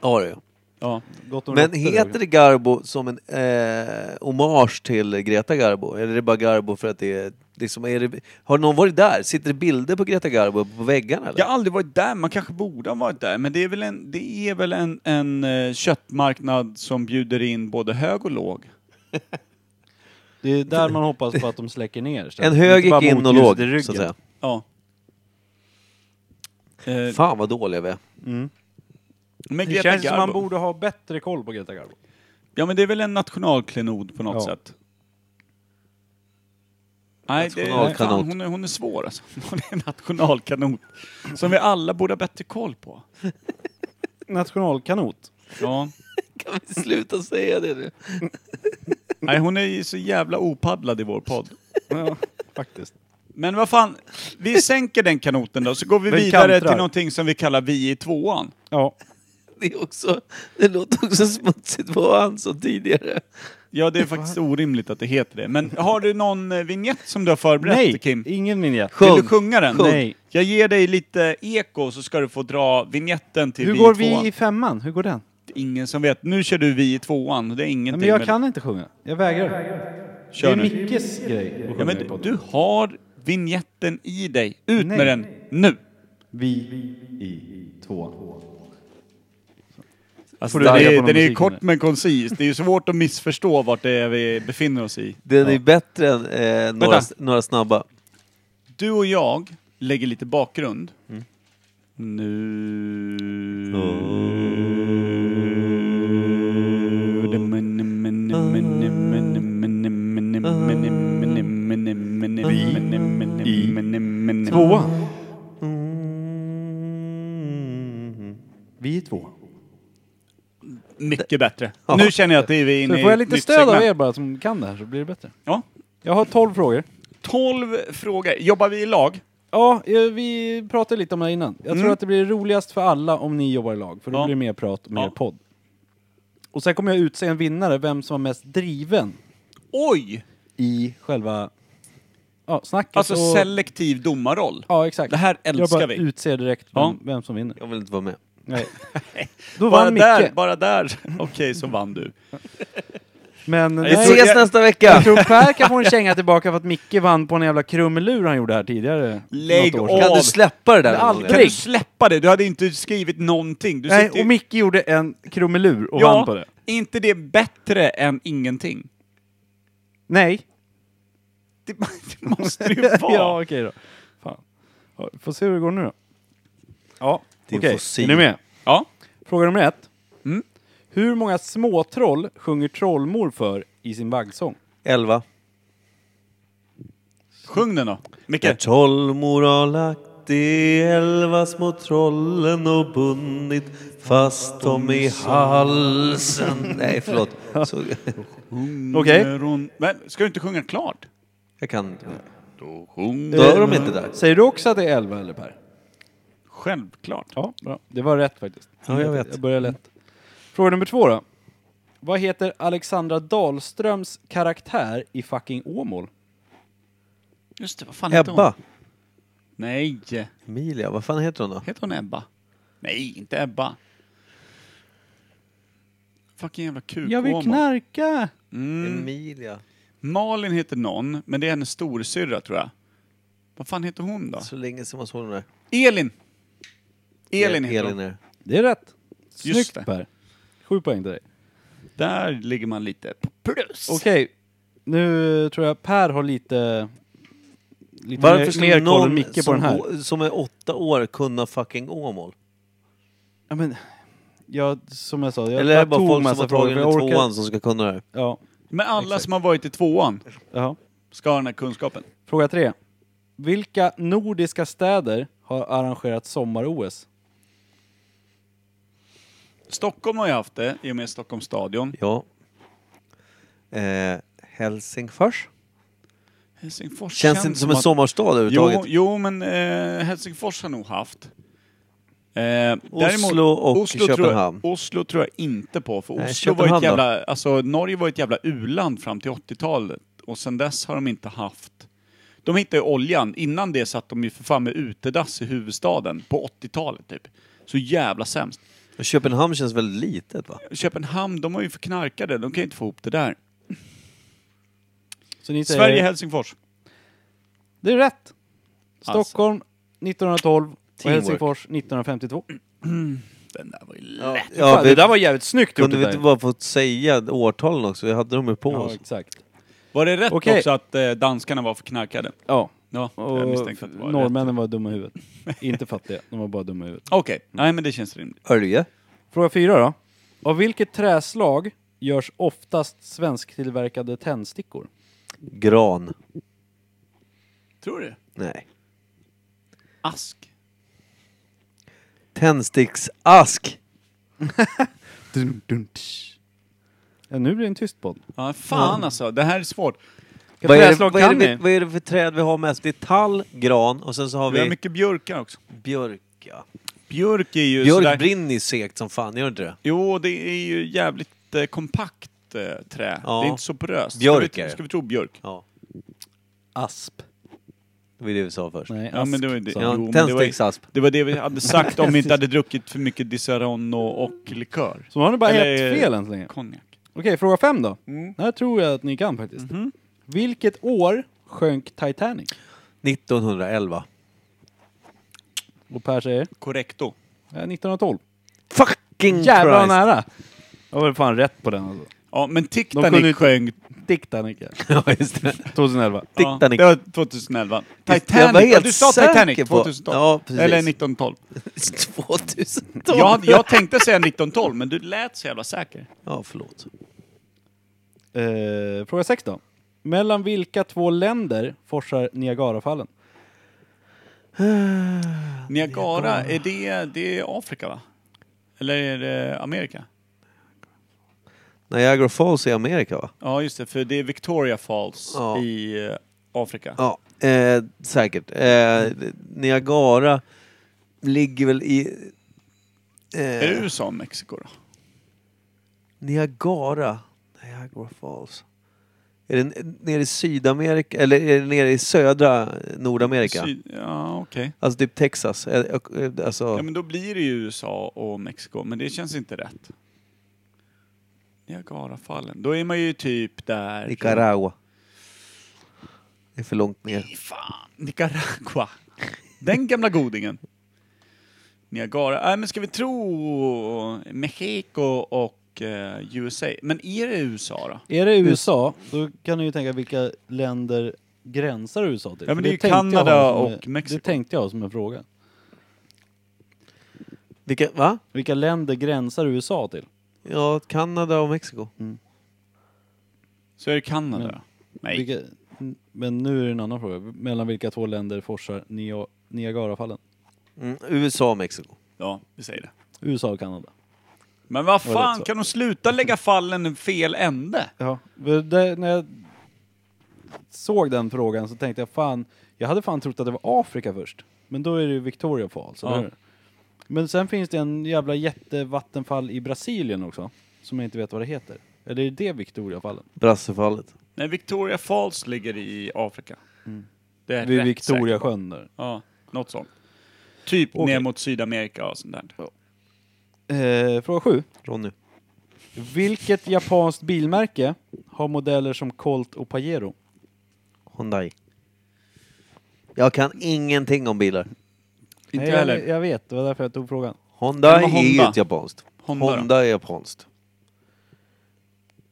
B: Ja, det är.
A: Ja.
C: Gott om
B: Men
C: råttor
B: heter
C: där.
B: det Garbo som en eh, hommage till Greta Garbo? Eller är det bara Garbo för att det är... Liksom, är det, har någon varit där? Sitter det bilder på Greta Garbo på väggarna? Eller?
A: Jag har aldrig varit där, man kanske borde ha varit där. Men det är väl en, det är väl en, en eh, köttmarknad som bjuder in både hög och låg.
C: Det är där man hoppas på att de släcker ner.
B: en hög
C: Inte bara
B: gick in och
C: motljus i ryggen.
B: låg, så att säga.
A: Ja. Eh,
B: Fan vad dåliga vi är. <laughs>
A: men
C: Det
A: Greta
C: känns som
A: Garbo.
C: man borde ha bättre koll på Greta Garbo.
A: Ja men det är väl en nationalklenod på något
C: Ja.
A: sätt. Nej, det är,
B: Nationalkanot.
A: fan, hon, är, hon är svår alltså. <laughs> Hon är en nationalkanot. Som vi alla borde ha bättre koll på.
C: Nationalkanot.
A: Ja.
B: Kan vi sluta säga det nu?
A: Nej, hon är ju så jävla opaddlad i vår podd.
C: Ja, <laughs> faktiskt.
A: Men vad fan, vi sänker den kanoten då, så går vi
C: Vi
A: vidare
C: kantrar.
A: till någonting som vi kallar Vi i tvåan.
C: Ja.
B: Det, är också, det låter också smutsigt på han som tidigare.
A: Ja, det är faktiskt orimligt att det heter det. Men har du någon eh, vignett som du har förberett,
C: Nej,
A: Kim?
C: ingen vinjett.
B: Sjung.
A: Vill du sjunga den?
B: Sjung.
C: Nej.
A: Jag ger dig lite eko, så ska du få dra vignetten till
C: Hur
A: Vi
C: går
A: i tvåan.
C: vi i femman? Hur går den?
A: Ingen som vet. Nu kör du Vi i tvåan, och det är
C: Ja,
A: ingenting
C: men jag
A: med-
C: kan inte sjunga. Jag vägrar. Det
A: Kör
C: är
A: nu.
C: Mickes grej att
A: Ja,
C: sjunga i
A: men
C: podden.
A: du har vignetten i dig. Ut
C: Nej.
A: med den nu!
C: Vi i tvåan.
A: Alltså,
C: du
A: den
C: ragga på
A: är,
C: någon
A: den är ju
C: musik,
A: kort
C: eller?
A: men koncis. Det är ju svårt att missförstå vart det är vi befinner oss i.
B: Den är bättre än eh, några,
A: Vänta.
B: några snabba.
A: Du och jag lägger lite bakgrund. Nu... Vi
C: Tvåan. Mm. Vi i tvåan.
A: Mycket bättre. Nu känner jag att vi är inne
C: Nu
A: i
C: får jag
A: ett
C: lite
A: nytt
C: stöd av
A: segment.
C: er bara som kan det här så blir det bättre.
A: Ja.
C: Jag har 12 frågor.
A: 12 frågor. Jobbar vi i lag?
C: Ja, eh, vi pratade lite om det här innan. Jag tror
A: Mm.
C: att det blir roligast för alla om ni jobbar i lag, för då
A: Ja.
C: blir det mer prat och mer
A: Ja.
C: podd. Och sen kommer jag utse en vinnare, vem som var mest driven
A: Oj!
C: i själva ja, snacket.
A: Alltså
C: och,
A: selektiv domarroll.
C: Ja, exakt.
A: Det här
C: jag bara
A: älskar vi.
C: utser direkt vem,
A: Ja.
C: vem
A: <laughs>
C: som vinner.
B: Jag vill inte vara med.
C: Nej. Då
A: Bara
C: vann Micke.
A: där, bara där. <laughs> Okej, så vann du.
C: Men
A: Jag
B: Vi
C: nej,
A: tror-
B: ses nästa vecka!
C: jag tror Per kan få en känga tillbaka för att Micke vann på en jävla krumelur han gjorde här tidigare.
A: Lägg
C: något år
A: av.
C: sedan.
B: Kan du släppa det där någon gång?
C: aldrig.
A: Kan du släppa det? Du hade inte skrivit någonting. Du
C: Nej,
A: sitter ju-
C: och Micke gjorde en krumelur och
A: ja,
C: vann på det.
A: är inte det bättre än ingenting? <laughs>
C: Nej,
A: Det, <laughs> det måste det ju vara.
C: <laughs> ja, okej då. Fan. Ja, Får se hur det går nu då. Ja,
B: Din
C: okej.
B: fossil.
C: Är ni med?
A: Ja.
C: Fråga nummer ett.
A: Mm.
C: Hur många småtroll sjunger trollmor för i sin vaggsång?
B: Elva.
A: Sjung den då. Micke.
B: När trollmor har lagt de elva små trollen och bundit fast dem i halsen. Nej, förlåt. Så, <laughs>
C: Okej.
A: Hon- Men, ska du inte sjunga klart?
B: jag kan inte. Då är de inte där.
C: Säger du också att det är 11 eller Per?
A: Självklart.
C: Ja, bra. Det var rätt faktiskt.
B: Ja, jag vet.
C: Jag börjar lätt. Fråga nummer två då. Vad heter Alexandra Dahlströms karaktär i fucking Åmål?
A: Just det, vad fan heter hon?
B: Ebba.
A: Nej.
B: Emilia, vad fan heter hon då?
A: Heter hon Ebba? Nej, inte Ebba. fucking jävla kuk.
C: Jag vill
A: Åmål.
C: knarka!
A: Mm.
B: Emilia.
A: Malin heter någon, men det är hennes storsyrra tror jag. Vad fan heter hon då?
B: Så länge som man såg den där.
A: Elin! Elin heter
B: Elin
A: hon.
B: är det.
C: Det är rätt.
A: Just
C: Snyggt
A: det.
C: Per. Sju poäng till dig.
A: Där ligger man lite på plus.
C: Okej, nu tror jag Per har lite... lite
B: Varför
C: mer,
B: skulle
C: mer koll än
B: någon
C: Micke på
B: som,
C: den här?
B: å- som är åtta år kunna fucking Åmål?
C: Ja, men, jag, som jag sa, jag,
B: Eller är det
C: jag
B: bara
C: tog
B: folk som
C: massa
B: har
C: frågor.
B: tagit
C: för
B: den
C: Jag
B: i
C: orkar,
B: tvåan som ska kunna det här?
C: ja,
A: Men alla
C: Exakt.
A: som har varit i tvåan
C: jaha.
A: ska ha den här kunskapen.
C: Fråga tre. Vilka nordiska städer har arrangerat sommar-OS?
A: Stockholm har ju haft det i och med Stockholms stadion.
B: Ja. Eh, Helsingfors?
A: Helsingfors
B: Känns inte som en
A: att-
B: sommarstad
A: Jo,
B: överhuvudtaget.
A: jo men eh, Helsingfors har nog haft. Eh, däremot,
B: och
A: Tror
B: Köpenhamn.
A: jag, Oslo tror jag inte på, för
B: Nej,
A: Oslo var ju ett
B: Köpenhamn då?
A: jävla, alltså Norge var ju ett jävla u-land fram till 80-talet och sen dess har de inte haft de hittade ju oljan. Innan det satt de ju för fan med utedass i huvudstaden på 80-talet typ. Så jävla sämst.
B: Och Köpenhamn känns väldigt litet va?
A: Köpenhamn, de har ju förknarkade. De kan ju inte få ihop det där.
C: Så ni säger,
A: Sverige, Helsingfors.
C: Det är rätt!
A: Alltså.
C: Stockholm 1912 och
B: Teamwork.
C: Helsingfors 1952.
A: Alltså, Den där var ju lätt.
B: Ja,
C: Fan,
B: vi,
C: det där var jävligt snyggt gjort
B: kunde
C: det
B: vi inte
C: där.
B: bara fått säga årtalen också? Vi hade dem ju på
C: Ja,
B: oss.
C: exakt.
A: Var det rätt
C: Okej.
A: också att eh, danskarna var förknarkade?
C: Ja,
A: Ja, jag
C: och
A: misstänkte att det var rätt.
C: norrmännen var dumma i huvudet. inte fattiga, de var bara dumma i huvudet.
A: Okej,
B: Mm.
A: nej men det känns rimligt.
B: Örje?
C: Fråga fyra då. Av vilket träslag görs oftast svensktillverkade tändstickor?
B: Gran?
A: Tror du?
B: Nej.
A: Ask.
B: Tändsticksask?
C: Ja, nu blir det en tyst podd.
A: Ja, fan alltså. Det här är svårt.
C: Vilka
B: Vad är, det,
C: träslag
B: vad, är
C: kan
B: det, vi-
C: ni?
B: vad är det för träd vi har mest? Det är tall, gran och sen så har
A: Vi har
B: vi
A: mycket björkar också.
B: björk. Ja.
A: Björk är ju sådär...
B: Björk brinner ju segt som fan, gör det inte det?
A: Jo, det är ju jävligt eh, kompakt eh, trä.
B: Ja.
A: Det är inte så poröst.
B: Björk
A: ska
B: är
A: vi,
B: det.
A: ska vi tro björk?
B: Ja,
C: Asp.
B: det var det vi sa först.
C: Nej,
A: Ja,
C: ask.
A: men det var ju det.
C: sa
A: Jo,
C: han.
A: men
B: Ja,
A: det
B: Tändsticksasp.
A: Det var det vi hade sagt om vi inte hade druckit för mycket Disaronno och likör.
C: Så har ni bara
A: Eller-
C: ett fel än så länge.
A: Konjak.
C: Okej, fråga fem då.
A: Mm.
C: Det här tror jag att ni kan faktiskt.
A: Mhm.
C: Vilket år sjönk Titanic?
B: 1911.
C: Och Per säger?
A: Correcto.
C: Ja, 1912.
B: Fucking
A: Mm,
C: Jävlar vad
B: Christ!
C: nära! Jag var fan rätt på den alltså.
A: Ja, men
C: De kunde
A: Titanic
C: inte-
A: sjöng...
C: Titanic ja.
B: <laughs> ja, just det.
A: <laughs>
C: 2011.
A: Ja,
B: Titanic.
A: det var 2011. Titanic!
B: Jag var helt
A: ja, du sa
B: säker
A: Titanic
B: på-
A: 2012.
B: Ja, precis.
A: Eller 1912.
B: 2012!
A: Jag, jag tänkte säga 1912, men du lät så jävla säker.
B: Ja, förlåt.
C: Eh, fråga sex då. Mellan vilka två länder forsar Niagarafallen?
A: Niagara, är det, det är Afrika va? Eller är det Amerika?
B: Niagara Falls i Amerika va?
A: Ja just det, för det är Victoria Falls
B: Ja.
A: i eh, Afrika.
B: Ja, eh, säkert. Eh, Niagara ligger väl i...
A: Är det
B: Eh,
A: USA och Mexiko då?
B: Niagara? Niagara Falls. Är det n- nere i Sydamerika, eller är det nere i södra Nordamerika?
A: Syd- ja okej.
B: Alltså typ Texas. Eh, och, eh, Alltså,
A: Ja men då blir det ju USA och Mexiko, men det känns inte rätt. Niagarafallen, då är man ju typ där...
B: Nicaragua. Det är för långt ner.
A: Fy Fan, Nicaragua. Den gamla godingen. Niagara. Nej men ska vi tro Mexiko och eh, USA? Men är det USA då?
C: Är det USA, då kan ni ju tänka vilka länder gränsar USA till?
A: Ja, men
C: För
A: det är ju
C: tänkte jag
A: Kanada
C: ha som-
A: och Mexiko.
C: Det tänkte jag ha som en fråga.
B: Vilka, va?
C: Vilka länder gränsar USA till?
B: Ja, Kanada och Mexiko.
A: Så är det Kanada
C: Men-
A: då? Nej.
C: Vilka, men nu är det en annan fråga. Mellan vilka två länder forsar Nia- Niagarafallen?
B: Mm, USA och Mexiko.
A: Ja, vi säger det.
C: USA och Kanada.
A: Men vad
C: Var det
A: fan,
C: så?
A: kan de sluta lägga fallen i fel ände?
C: Ja, för det, när jag såg den frågan så tänkte jag fan, jag hade fan trott att det var Afrika först. Men då är det ju Victoria Falls,
A: Ja.
C: eller hur? Men sen finns det en jävla jättevattenfall i Brasilien också, som jag inte vet vad det heter. Eller är det Victoriafallen?
B: Brassefallet.
A: Nej, Victoria Falls ligger i Afrika. Det är
C: Mm. Vid
A: rätt säkert.
C: Victoriasjön där.
A: Ja, något sånt. Typ
C: Okej.
A: ner mot Sydamerika och sånt där.
C: Eh, fråga sju.
B: Ronny.
C: Vilket japanskt bilmärke har modeller som Colt och Pajero?
B: Hyundai. Jag kan ingenting om bilar.
A: Inte
C: Nej,
A: jag heller.
C: Jag, jag vet, det var därför jag tog frågan.
B: Hyundai
A: Men vad
B: är ju
A: Honda?
B: inte japanskt.
A: Honda då?
B: Honda är japanskt.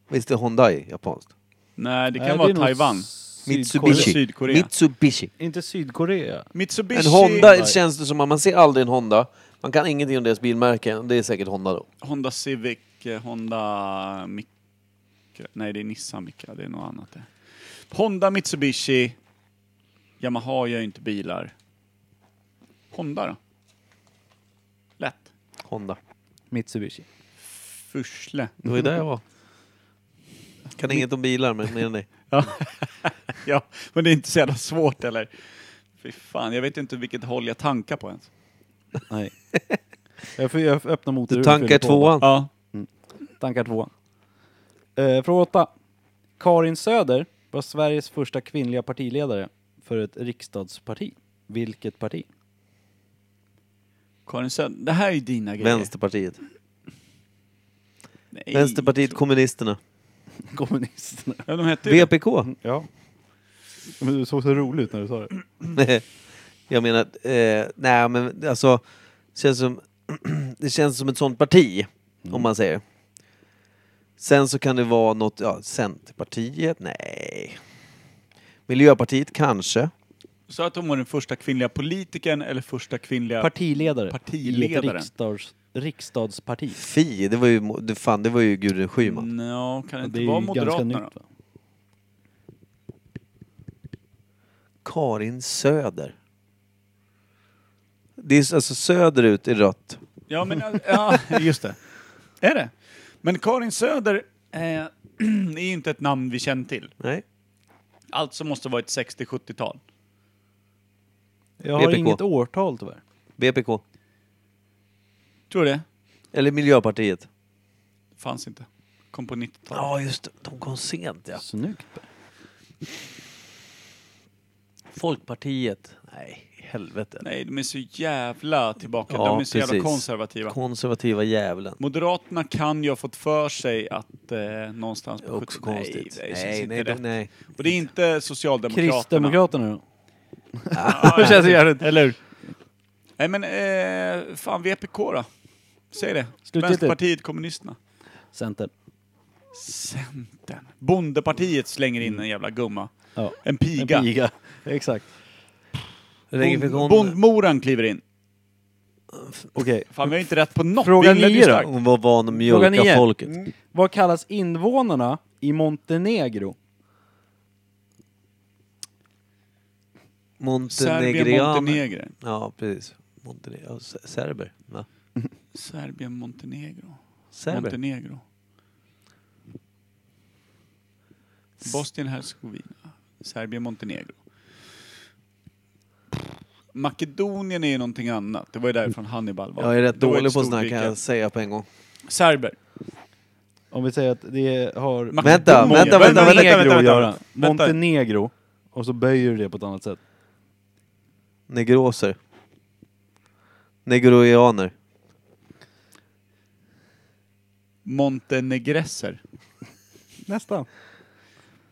B: Visst är Hyundai japanskt?
A: Nej, det kan
C: Nej,
A: vara
C: är nog
A: Taiwan.
C: Sydkorea.
B: Mitsubishi.
A: Sydkorea.
B: Mitsubishi.
C: Inte Sydkorea.
A: Mitsubishi...
B: En Honda känns det som, att man ser aldrig en Honda. Man kan ingenting om deras bilmärken. Det är säkert Honda då.
A: Honda Civic, eh, Honda Micra. Nej, det är Nissan Micra. Det är något annat det. Honda, Mitsubishi. Yamaha gör ju inte bilar. Honda då? Lätt.
B: Honda.
C: Mitsubishi.
A: Fursle.
B: Det var ju där jag var. Kan inget om bilar, men mer
A: <laughs>
B: än dig.
A: Ja, men det är inte så jävla svårt eller? Fy fan, jag vet inte vilket håll jag tankar på ens.
C: Nej. jag, får, jag öppnar motorn.
B: Du tankar tvåan.
A: Ja.
C: Tankar tvåan. Eh, fråga åtta. Karin Söder var Sveriges första kvinnliga partiledare för ett riksdagsparti. Vilket parti?
A: Karin Söder, det här är ju dina grejer.
B: Vänsterpartiet.
A: Nej.
B: Vänsterpartiet kommunisterna.
C: Kommunisterna.
A: Ja, de hette ju det.
B: VPK.
C: Ja. Men du såg så rolig ut när du sa det.
B: <laughs> jag menar, eh, nej men alltså, känns som, <clears throat> det känns som ett sånt parti, om man säger. Sen så kan det vara något, ja, Centerpartiet? Nej. Miljöpartiet kanske?
A: Så att hon var den första kvinnliga politikern eller första kvinnliga...
C: Partiledare. I ett
A: Partiledaren.
C: riksdags, riksdagsparti.
B: Fi, det var ju, mo- det, fan, det var ju Gudrun Schyman.
A: Nja, kan det
C: Och
A: inte
C: ju
A: vara Moderaterna då?
C: va?
B: Karin Söder. Det är s- alltså söderut i rött.
A: Ja, men <laughs> ja, just det. Är det? Men Karin Söder eh, <clears throat> är ju inte ett namn vi känner till.
B: Nej.
A: Alltså måste det vara ett 60-70-tal.
C: Jag har
B: VPK.
C: inget årtal tyvärr.
B: BPK.
A: Tror du det?
B: Eller Miljöpartiet.
A: Fanns inte. Kom på 90-talet.
B: Ja, just det. De kom sent ja.
C: Snyggt.
B: Folkpartiet. Nej, i helvete.
A: Nej, de är så jävla tillbaka.
B: Ja,
A: de är så jävla
B: precis.
A: konservativa.
B: Konservativa djävulen.
A: Moderaterna kan ju ha fått för sig att eh, någonstans på 70
B: Också konstigt.
A: Nej, det känns inte rätt.
B: nej.
A: Och det är inte Socialdemokraterna.
C: Kristdemokraterna då?
A: Ja,
C: Det känns jävligt.
A: Eller hur? Nej men, eh, fan VPK då? Säg det.
C: Slutgiltigt.
A: Vänsterpartiet Kommunisterna.
C: Centern.
A: Centern. Bondepartiet slänger in
B: Mm.
A: en jävla gumma.
C: Ja.
A: En piga.
C: Piga. <laughs> Exakt.
B: Ringer fick
A: Bond-
B: hon...
A: Bondmoran kliver in.
C: Okej.
A: Fan vi har inte rätt på något.
C: Fråga
A: Vi inledde ju
C: nio då.
A: starkt.
B: Hon var van att
C: Fråga
B: mjölka
C: nio.
B: folket.
C: Mm. Vad kallas invånarna i Montenegro?
A: Serbien,
B: Montenegrianer.
A: Montenegro.
B: Ja, precis. Montenegro. ja, se- Serber. Va?
A: Serbien, Montenegro.
B: Serber.
A: Montenegro. Bosnien, Hercegovina. Serbien, Montenegro. Makedonien är ju någonting annat. Det var ju därifrån Hannibal var.
B: Jag är rätt
A: Det var ett
B: dålig på
A: stort
B: sådana här kan
A: rike.
B: jag säga på en gång.
A: Serber.
C: Om vi säger att det har
A: Makedonien.
B: Vänta, vänta, vänta, vänta,
C: Montenegro
A: vänta,
C: att
A: vänta,
C: göra.
A: vänta.
C: Montenegro. Och så böjer du det på ett annat sätt.
B: Negroser. Negroianer.
A: Montenegresser.
C: Nästan.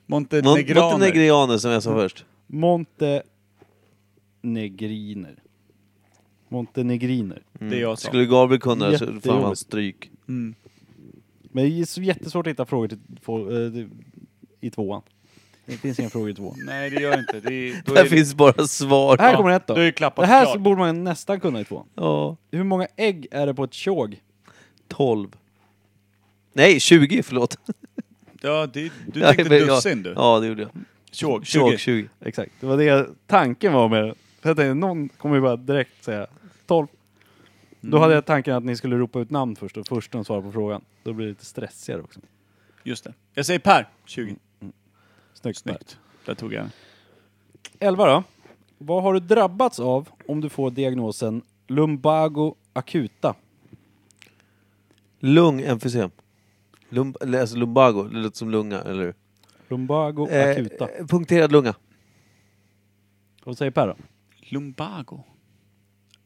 B: Mon-
A: Montenegraner.
B: Montenegrianer som jag sa först.
C: Montenegriner. Montenegriner.
A: Det är jag sa.
B: Mm. Skulle Gabriel kunna det så fan
C: Jättejobbigt.
B: var han stryk.
A: Mm.
C: Men det är så jättesvårt att hitta frågor till, få- eh, till- i tvåan. Det finns inga frågor i tvåan.
A: Nej, det gör jag inte. Det
B: <laughs>
A: är, då är
B: Där
A: det-
B: finns bara svar.
C: Här kommer ett då.
A: Då är det klappat
C: Det här
A: klart.
C: borde man nästan kunna i tvåan.
B: Ja,
C: Hur många ägg är det på ett tjog?
B: 12. Nej, 20 förlåt.
A: Ja, det, du
B: Ja,
A: tänkte
B: men jag-
A: dussin du.
B: Ja, det gjorde jag.
A: Tjog,
B: 20.
A: 20.
B: 20.
C: Exakt, det var det tanken var med det. För jag tänkte, någon kommer ju bara direkt säga 12. Då hade jag tanken att ni skulle ropa ut namn först och först de svarar på frågan. Då blir det lite stressigare också.
A: Just det. Jag säger Per.
B: Mm.
A: 20.
C: Snyggt.
A: Snyggt. Där tog jag den.
C: 11 då. Vad har du drabbats av om du får diagnosen lumbago acuta?
B: Lung-emfysem. Lumb eller, alltså lumbago, det låter som lunga, eller hur?
C: Lumbago acuta.
B: Eh, punkterad lunga.
C: Vad säger Per då?
A: Lumbago.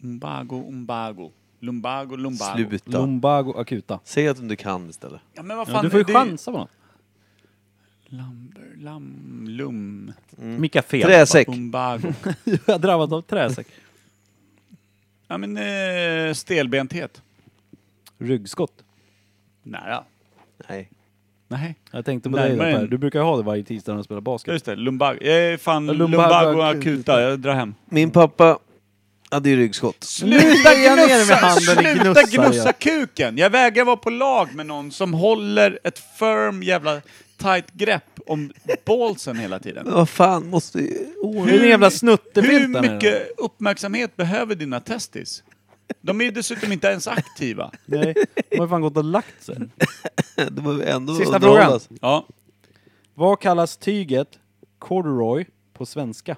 A: Umbago, umbago. Lumbago, lumbago.
B: Sluta.
C: Lumbago akuta.
B: Säg att du inte kan istället.
A: Ja, men vad fan
C: Ja, du får ju
A: det-
C: chansa på något.
A: Lamber, lam, lum.
C: Micka fel.
B: Träsäck. <laughs>
A: Lumbago.
C: <laughs> Jag har drabbats av träsäck.
A: Ja, men eh, stelbenthet.
C: Ryggskott.
A: Nära.
B: Nej.
A: Nej.
C: Jag tänkte på dig
A: Närmare
C: då, Per.
A: en-
C: Du brukar ju ha det varje tisdag när du spelar
A: Ja,
C: basket.
A: just det. Lumbago. Jag är fan
C: Lumbago
A: lumbago,
C: akuta.
A: akuta. Jag drar hem.
B: Min pappa hade ju ryggskott.
A: Sluta
C: är jag nere med
A: gnussa!
C: handen i
A: Sluta
C: gnussar,
A: gnussa
C: ja.
A: kuken! Jag vägrar vara på lag med någon som håller ett firm jävla tight grepp om ballsen hela tiden.
B: Men vad fan, måste ju... <laughs>
C: Det är en jävla snuttefilt
A: Hur
C: där nere.
A: mycket uppmärksamhet behöver dina testis? De är ju dessutom inte ens aktiva.
C: Nej, de har fan gått och lagt sig.
B: Det var ju ändå
C: Sista
B: underhållas.
A: Ja.
C: Vad kallas tyget corduroy på svenska?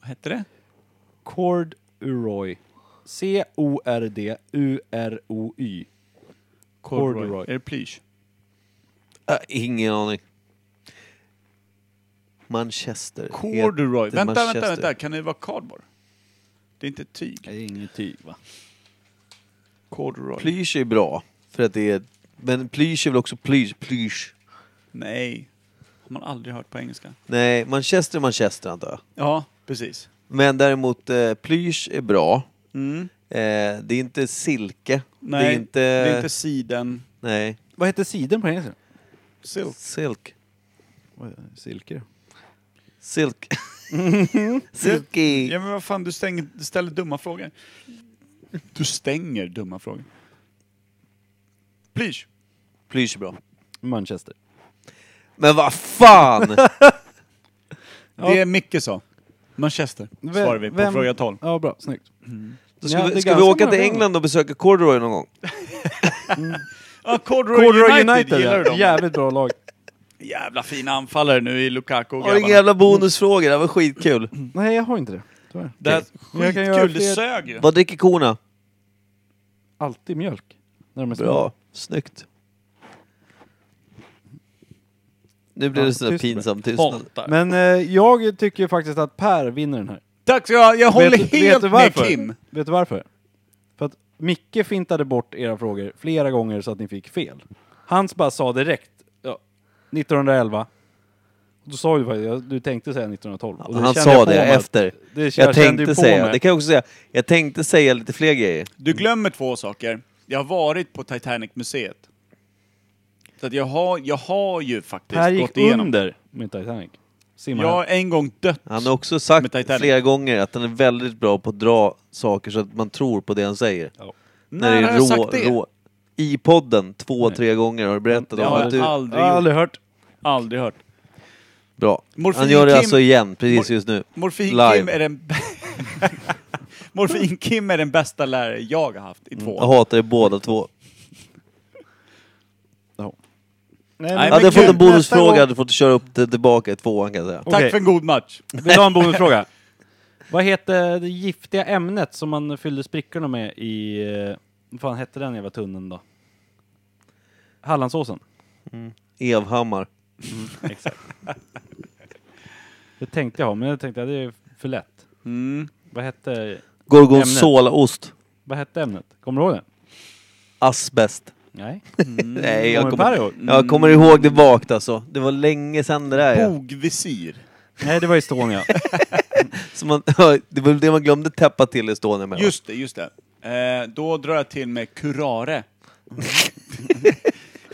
A: Vad hette det?
C: Corduroy. C-O-R-D-U-R-O-Y. Corduroy.
A: Är det plysch?
B: Äh, ingen aning. Manchester.
A: Corduroy.
B: heter
A: Vänta,
B: Manchester.
A: vänta, vänta. Kan det vara cardboard? Det är inte tyg.
C: är inget tyg va?
A: Corduroy.
B: Plysch är bra. För att det är... Men plysch är väl också plysch? plysch.
A: Nej. Har man aldrig hört på engelska.
B: Nej, Manchester är Manchester antar jag.
A: Ja, precis.
B: Men däremot eh, plysch är bra.
A: Mm.
B: Eh, det är inte silke.
A: Nej,
B: det är inte...
A: det är inte siden.
B: Nej.
C: Vad heter siden på engelska?
A: Silk.
B: Silk.
C: Silke.
B: Silk. Silky.
A: Ja men vad fan, du stänger, du ställer dumma frågor. Du stänger dumma frågor. Plysch.
B: Plysch är bra.
C: Manchester.
B: Men vad fan!
A: Det är Micke sa. Manchester, svarar vi på
C: vem-
A: fråga 12.
C: Ja, bra. Snyggt.
B: Då ska
C: Ja, det är
B: vi, ska vi
C: ganska
B: åka till
C: många
B: England och besöka Corduroy någon gång?
A: Ja, Corduroy,
C: Corduroy United,
A: United, gillar du
C: ja.
A: dem?
C: Jävligt bra lag.
A: Jävla fina anfallare nu i Lukaku och
B: Har inga
A: grabbarna.
B: jävla bonusfrågor, det var skitkul.
C: Nej, jag har inte det. Tyvärr.
A: Det här,
C: Jag kan göra
A: skitkul, det
C: fler-
A: sög ju.
B: <clears throat> Vad dricker korna?
C: Alltid mjölk. När de är små.
B: Bra, snyggt. Nu blir
C: Ja,
B: det sån där
C: tyst med.
B: pinsam tystnad.
A: Hatar.
C: Men eh, jag tycker ju faktiskt att Per vinner den här.
A: Tack så jag, jag håller
C: vet
A: helt med
C: du varför?
A: Kim.
C: Vet du varför? För att Micke fintade bort era frågor flera gånger så att ni fick fel. Hans bara sa direkt ja, 1911. Och då sa du faktiskt, ja, du tänkte säga 1912. Och
B: Han
C: kände
B: sa
C: jag på
B: det
C: mig.
B: efter.
C: Det jag
B: Jag
C: kände ju på
B: tänkte säga,
C: mig.
B: det kan jag också säga, jag tänkte säga lite fler grejer.
A: Du glömmer två saker. Jag har varit på Titanic-museet. Så att jag, har, jag har ju faktiskt
C: Per
A: gått
C: gick
A: igenom.
C: under med Titanic. Simmar
A: Jag har en gång dött.
B: Han har också
A: Med
B: sagt
A: Titanic.
B: flera gånger att han är väldigt bra på att dra saker så att man tror på det han säger.
A: När har jag sagt det?
B: I podden två, tre gånger har du berättat
A: Det
B: om
A: har jag
B: att du...
A: aldrig,
C: Jag har
A: gjort.
C: aldrig hört.
A: aldrig hört.
B: Bra.
A: Morfin
B: han gör det
A: Kim-
B: alltså igen, precis
A: Mor-
B: just nu.
A: Morfin-Kim
B: Live.
A: är, den... <laughs> Morfin är den bästa lärare jag har haft i två
B: Jag
A: år.
B: hatar er båda två.
C: Nej,
A: Nej,
C: men,
A: men
B: Hade jag fått
A: gud,
B: en bonusfråga
C: nästa
B: hade du fått köra upp det tillbaka i tvåan kan jag säga.
A: Tack
C: Okej.
A: för en god match.
C: Vill du ha en bonusfråga? Vad heter det giftiga ämnet som man fyllde sprickorna med i... eh, Vad fan hette den jävla tunneln då? Hallandsåsen.
B: Evhammar.
C: Exakt. <laughs> Det tänkte jag ha, men jag tänkte att det är för lätt.
A: Mm.
C: Vad hette,
B: Gorgonzolaost.
C: vad hette ämnet? Kommer du ihåg det?
B: Asbest.
C: Nej.
A: Mm.
B: <laughs> Nej, jag
C: Kommer
B: kommer,
C: Per ihåg?
B: jag kommer ihåg det vagt alltså. Det var länge sedan det där.
A: Oh.
B: Ja.
A: Mm. Bogvisir.
C: Nej, det var Estonia.
B: Så man, <laughs> det var det man glömde täppa till Estonia med. va?
A: Just det, just det. Eh, då drar jag till med curare.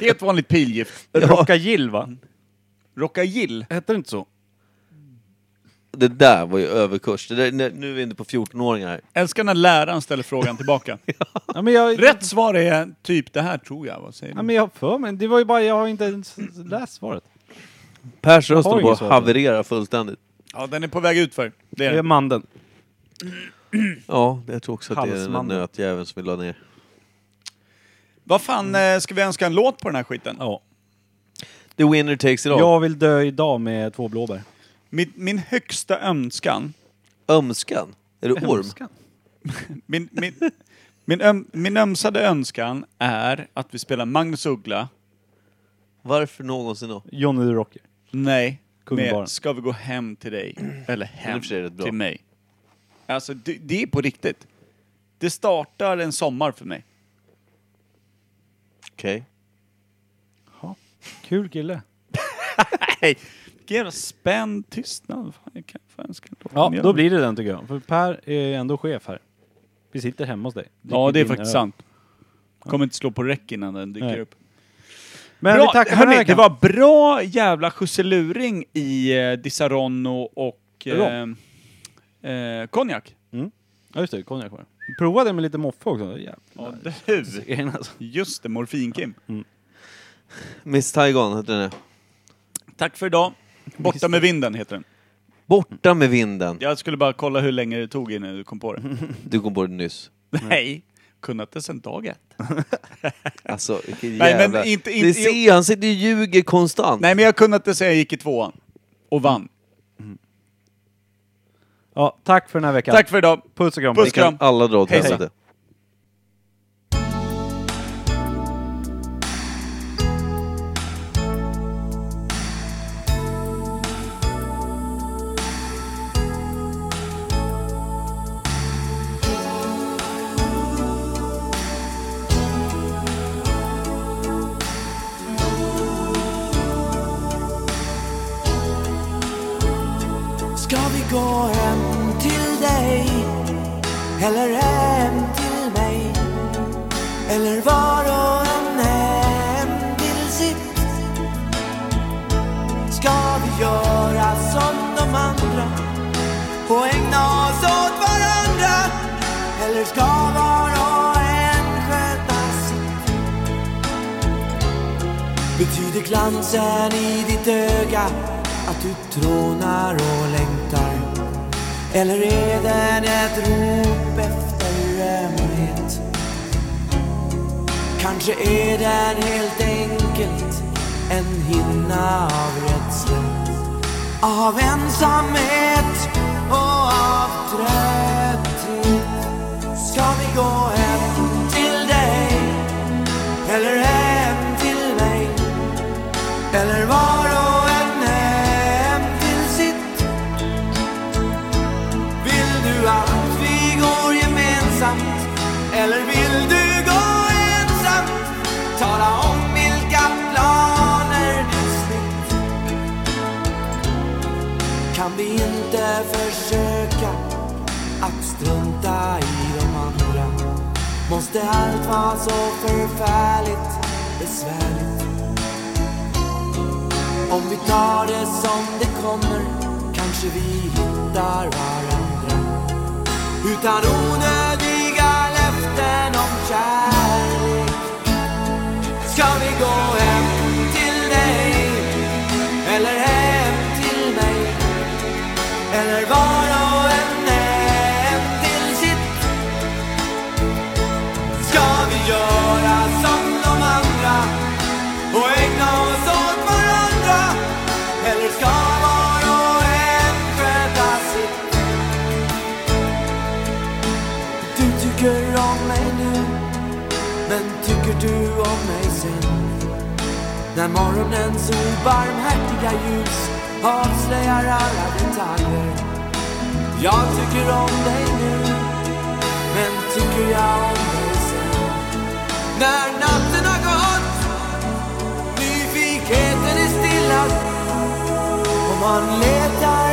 A: Helt vanligt pilgift.
C: Rockagill va?
A: Rockagill.
C: Hette det inte så?
B: Det där var ju överkurs. Det där, nu- nu är vi inte på 14-åringar här.
A: Älskar när läraren ställer frågan tillbaka.
C: Ja, men jag,
A: Rätt svar är typ det här tror jag. Vad säger
C: Ja,
A: du?
C: men jag har för mig. Det var ju bara, jag har inte ens läst svaret.
B: Pers röst
C: har
B: håller på
C: ingen
B: att
C: svar.
B: haverera fullständigt.
A: Ja, den är på väg ut för. Det är
C: Det är
A: den.
C: mandeln.
B: Ja, jag tror också att det är den där
C: Halsmannen.
B: nötjäveln som vi la ner.
A: Vad fan, eh, ska vi önska en låt på den här skiten?
C: Ja.
B: The winner takes it all.
C: Jag vill dö idag med två blåbär.
A: Min, min högsta önskan,
B: Ömskan? Är det orm?
A: min, min, min, öm, min ömsade önskan är att vi spelar Magnus Uggla,
B: Varför någonsin då?
C: Johnny the Rocker.
A: nej,
C: Kungen bara.
A: med Ska vi gå hem till dig? Eller
B: Det är i
A: hem
B: och för sig rätt bra.
A: till mig. Alltså, det, det är på riktigt. Det startar en sommar för mig.
B: Okej.
H: Kul kille.
A: Vilken jävla spänd tystnad. Fan, jag kan, fan, jag ska inte
H: Ja,
A: göra
H: då
A: det.
H: blir det den tycker jag. För Per är ändå chef här. Vi sitter hemma hos dig.
A: ja, det är
H: Dricker
A: faktiskt
H: din eh, öl.
A: sant. Kommer inte slå på räck innan den dyker
H: Nej.
A: upp.
H: Men
A: bra,
H: vi tackar för den här
A: hörni, det
H: veckan.
A: var bra jävla skjutseluring i eh, Disaronno och
H: Rom.
A: eh, eh, konjak.
H: Ja, just det. Konjak var det. Prova det med lite moffa också. Jävlar.
A: Ja, du.
H: Serien, alltså.
A: <laughs> Just det, morfinkim.
B: Miss Saigon heter den.
A: Tack för idag. Borta med vinden heter den.
B: Borta med vinden.
A: Jag skulle bara kolla hur länge det tog innan du kom på
H: Mm.
A: det.
B: Du kom på det nyss.
A: <laughs> Nej, kunnat det sen dag ett.
B: Alltså, vilken
A: Nej, men
B: jävla...
A: inte-
B: det
A: inte-
B: ser, han sitter och ljuger konstant.
A: Nej, men jag kunnat det sen jag gick i tvåan. Och vann.
H: Ja, tack för den här veckan.
A: Tack för idag.
H: Puss och kram.
A: Puss.
B: kan alla dra åt
A: Hej, hej.
B: helvete.
I: Ska vi gå hem till dig? Eller hem till mig? Eller var och en hem till sitt? Ska vi göra som de andra och ägna oss åt varandra? Eller ska var och en sköta sitt? Betyder glansen i ditt öga att du trånar och längtar? Eller är den ett rop efter ömhet? Kanske är den helt enkelt en hinna av rädsla av ensamhet och av trötthet Ska vi gå hem till dig eller hem till mig eller var och en hem till sitt Vill du att vi går gemensamt eller vill du gå ensam? Tala om vilka planer du smitt Kan vi inte försöka att strunta i de andra? Måste allt vara så förfärligt besvärligt? Om vi tar det som det kommer kanske vi hittar varandra utan onödiga löften om kärlek. Ska vi gå hem till dig eller hem till mig eller var och en hem till sitt? Ska vi göra som de andra och ägna oss åt varandra Eller ska var och en sköta sitt Du tycker om mig nu Men tycker du om mig sen När morgonens obarmhärtiga ljus avslöjar alla detaljer Jag tycker om dig nu Men tycker jag om dig sen När natten har gått Nyfikenheten är stilla och man letar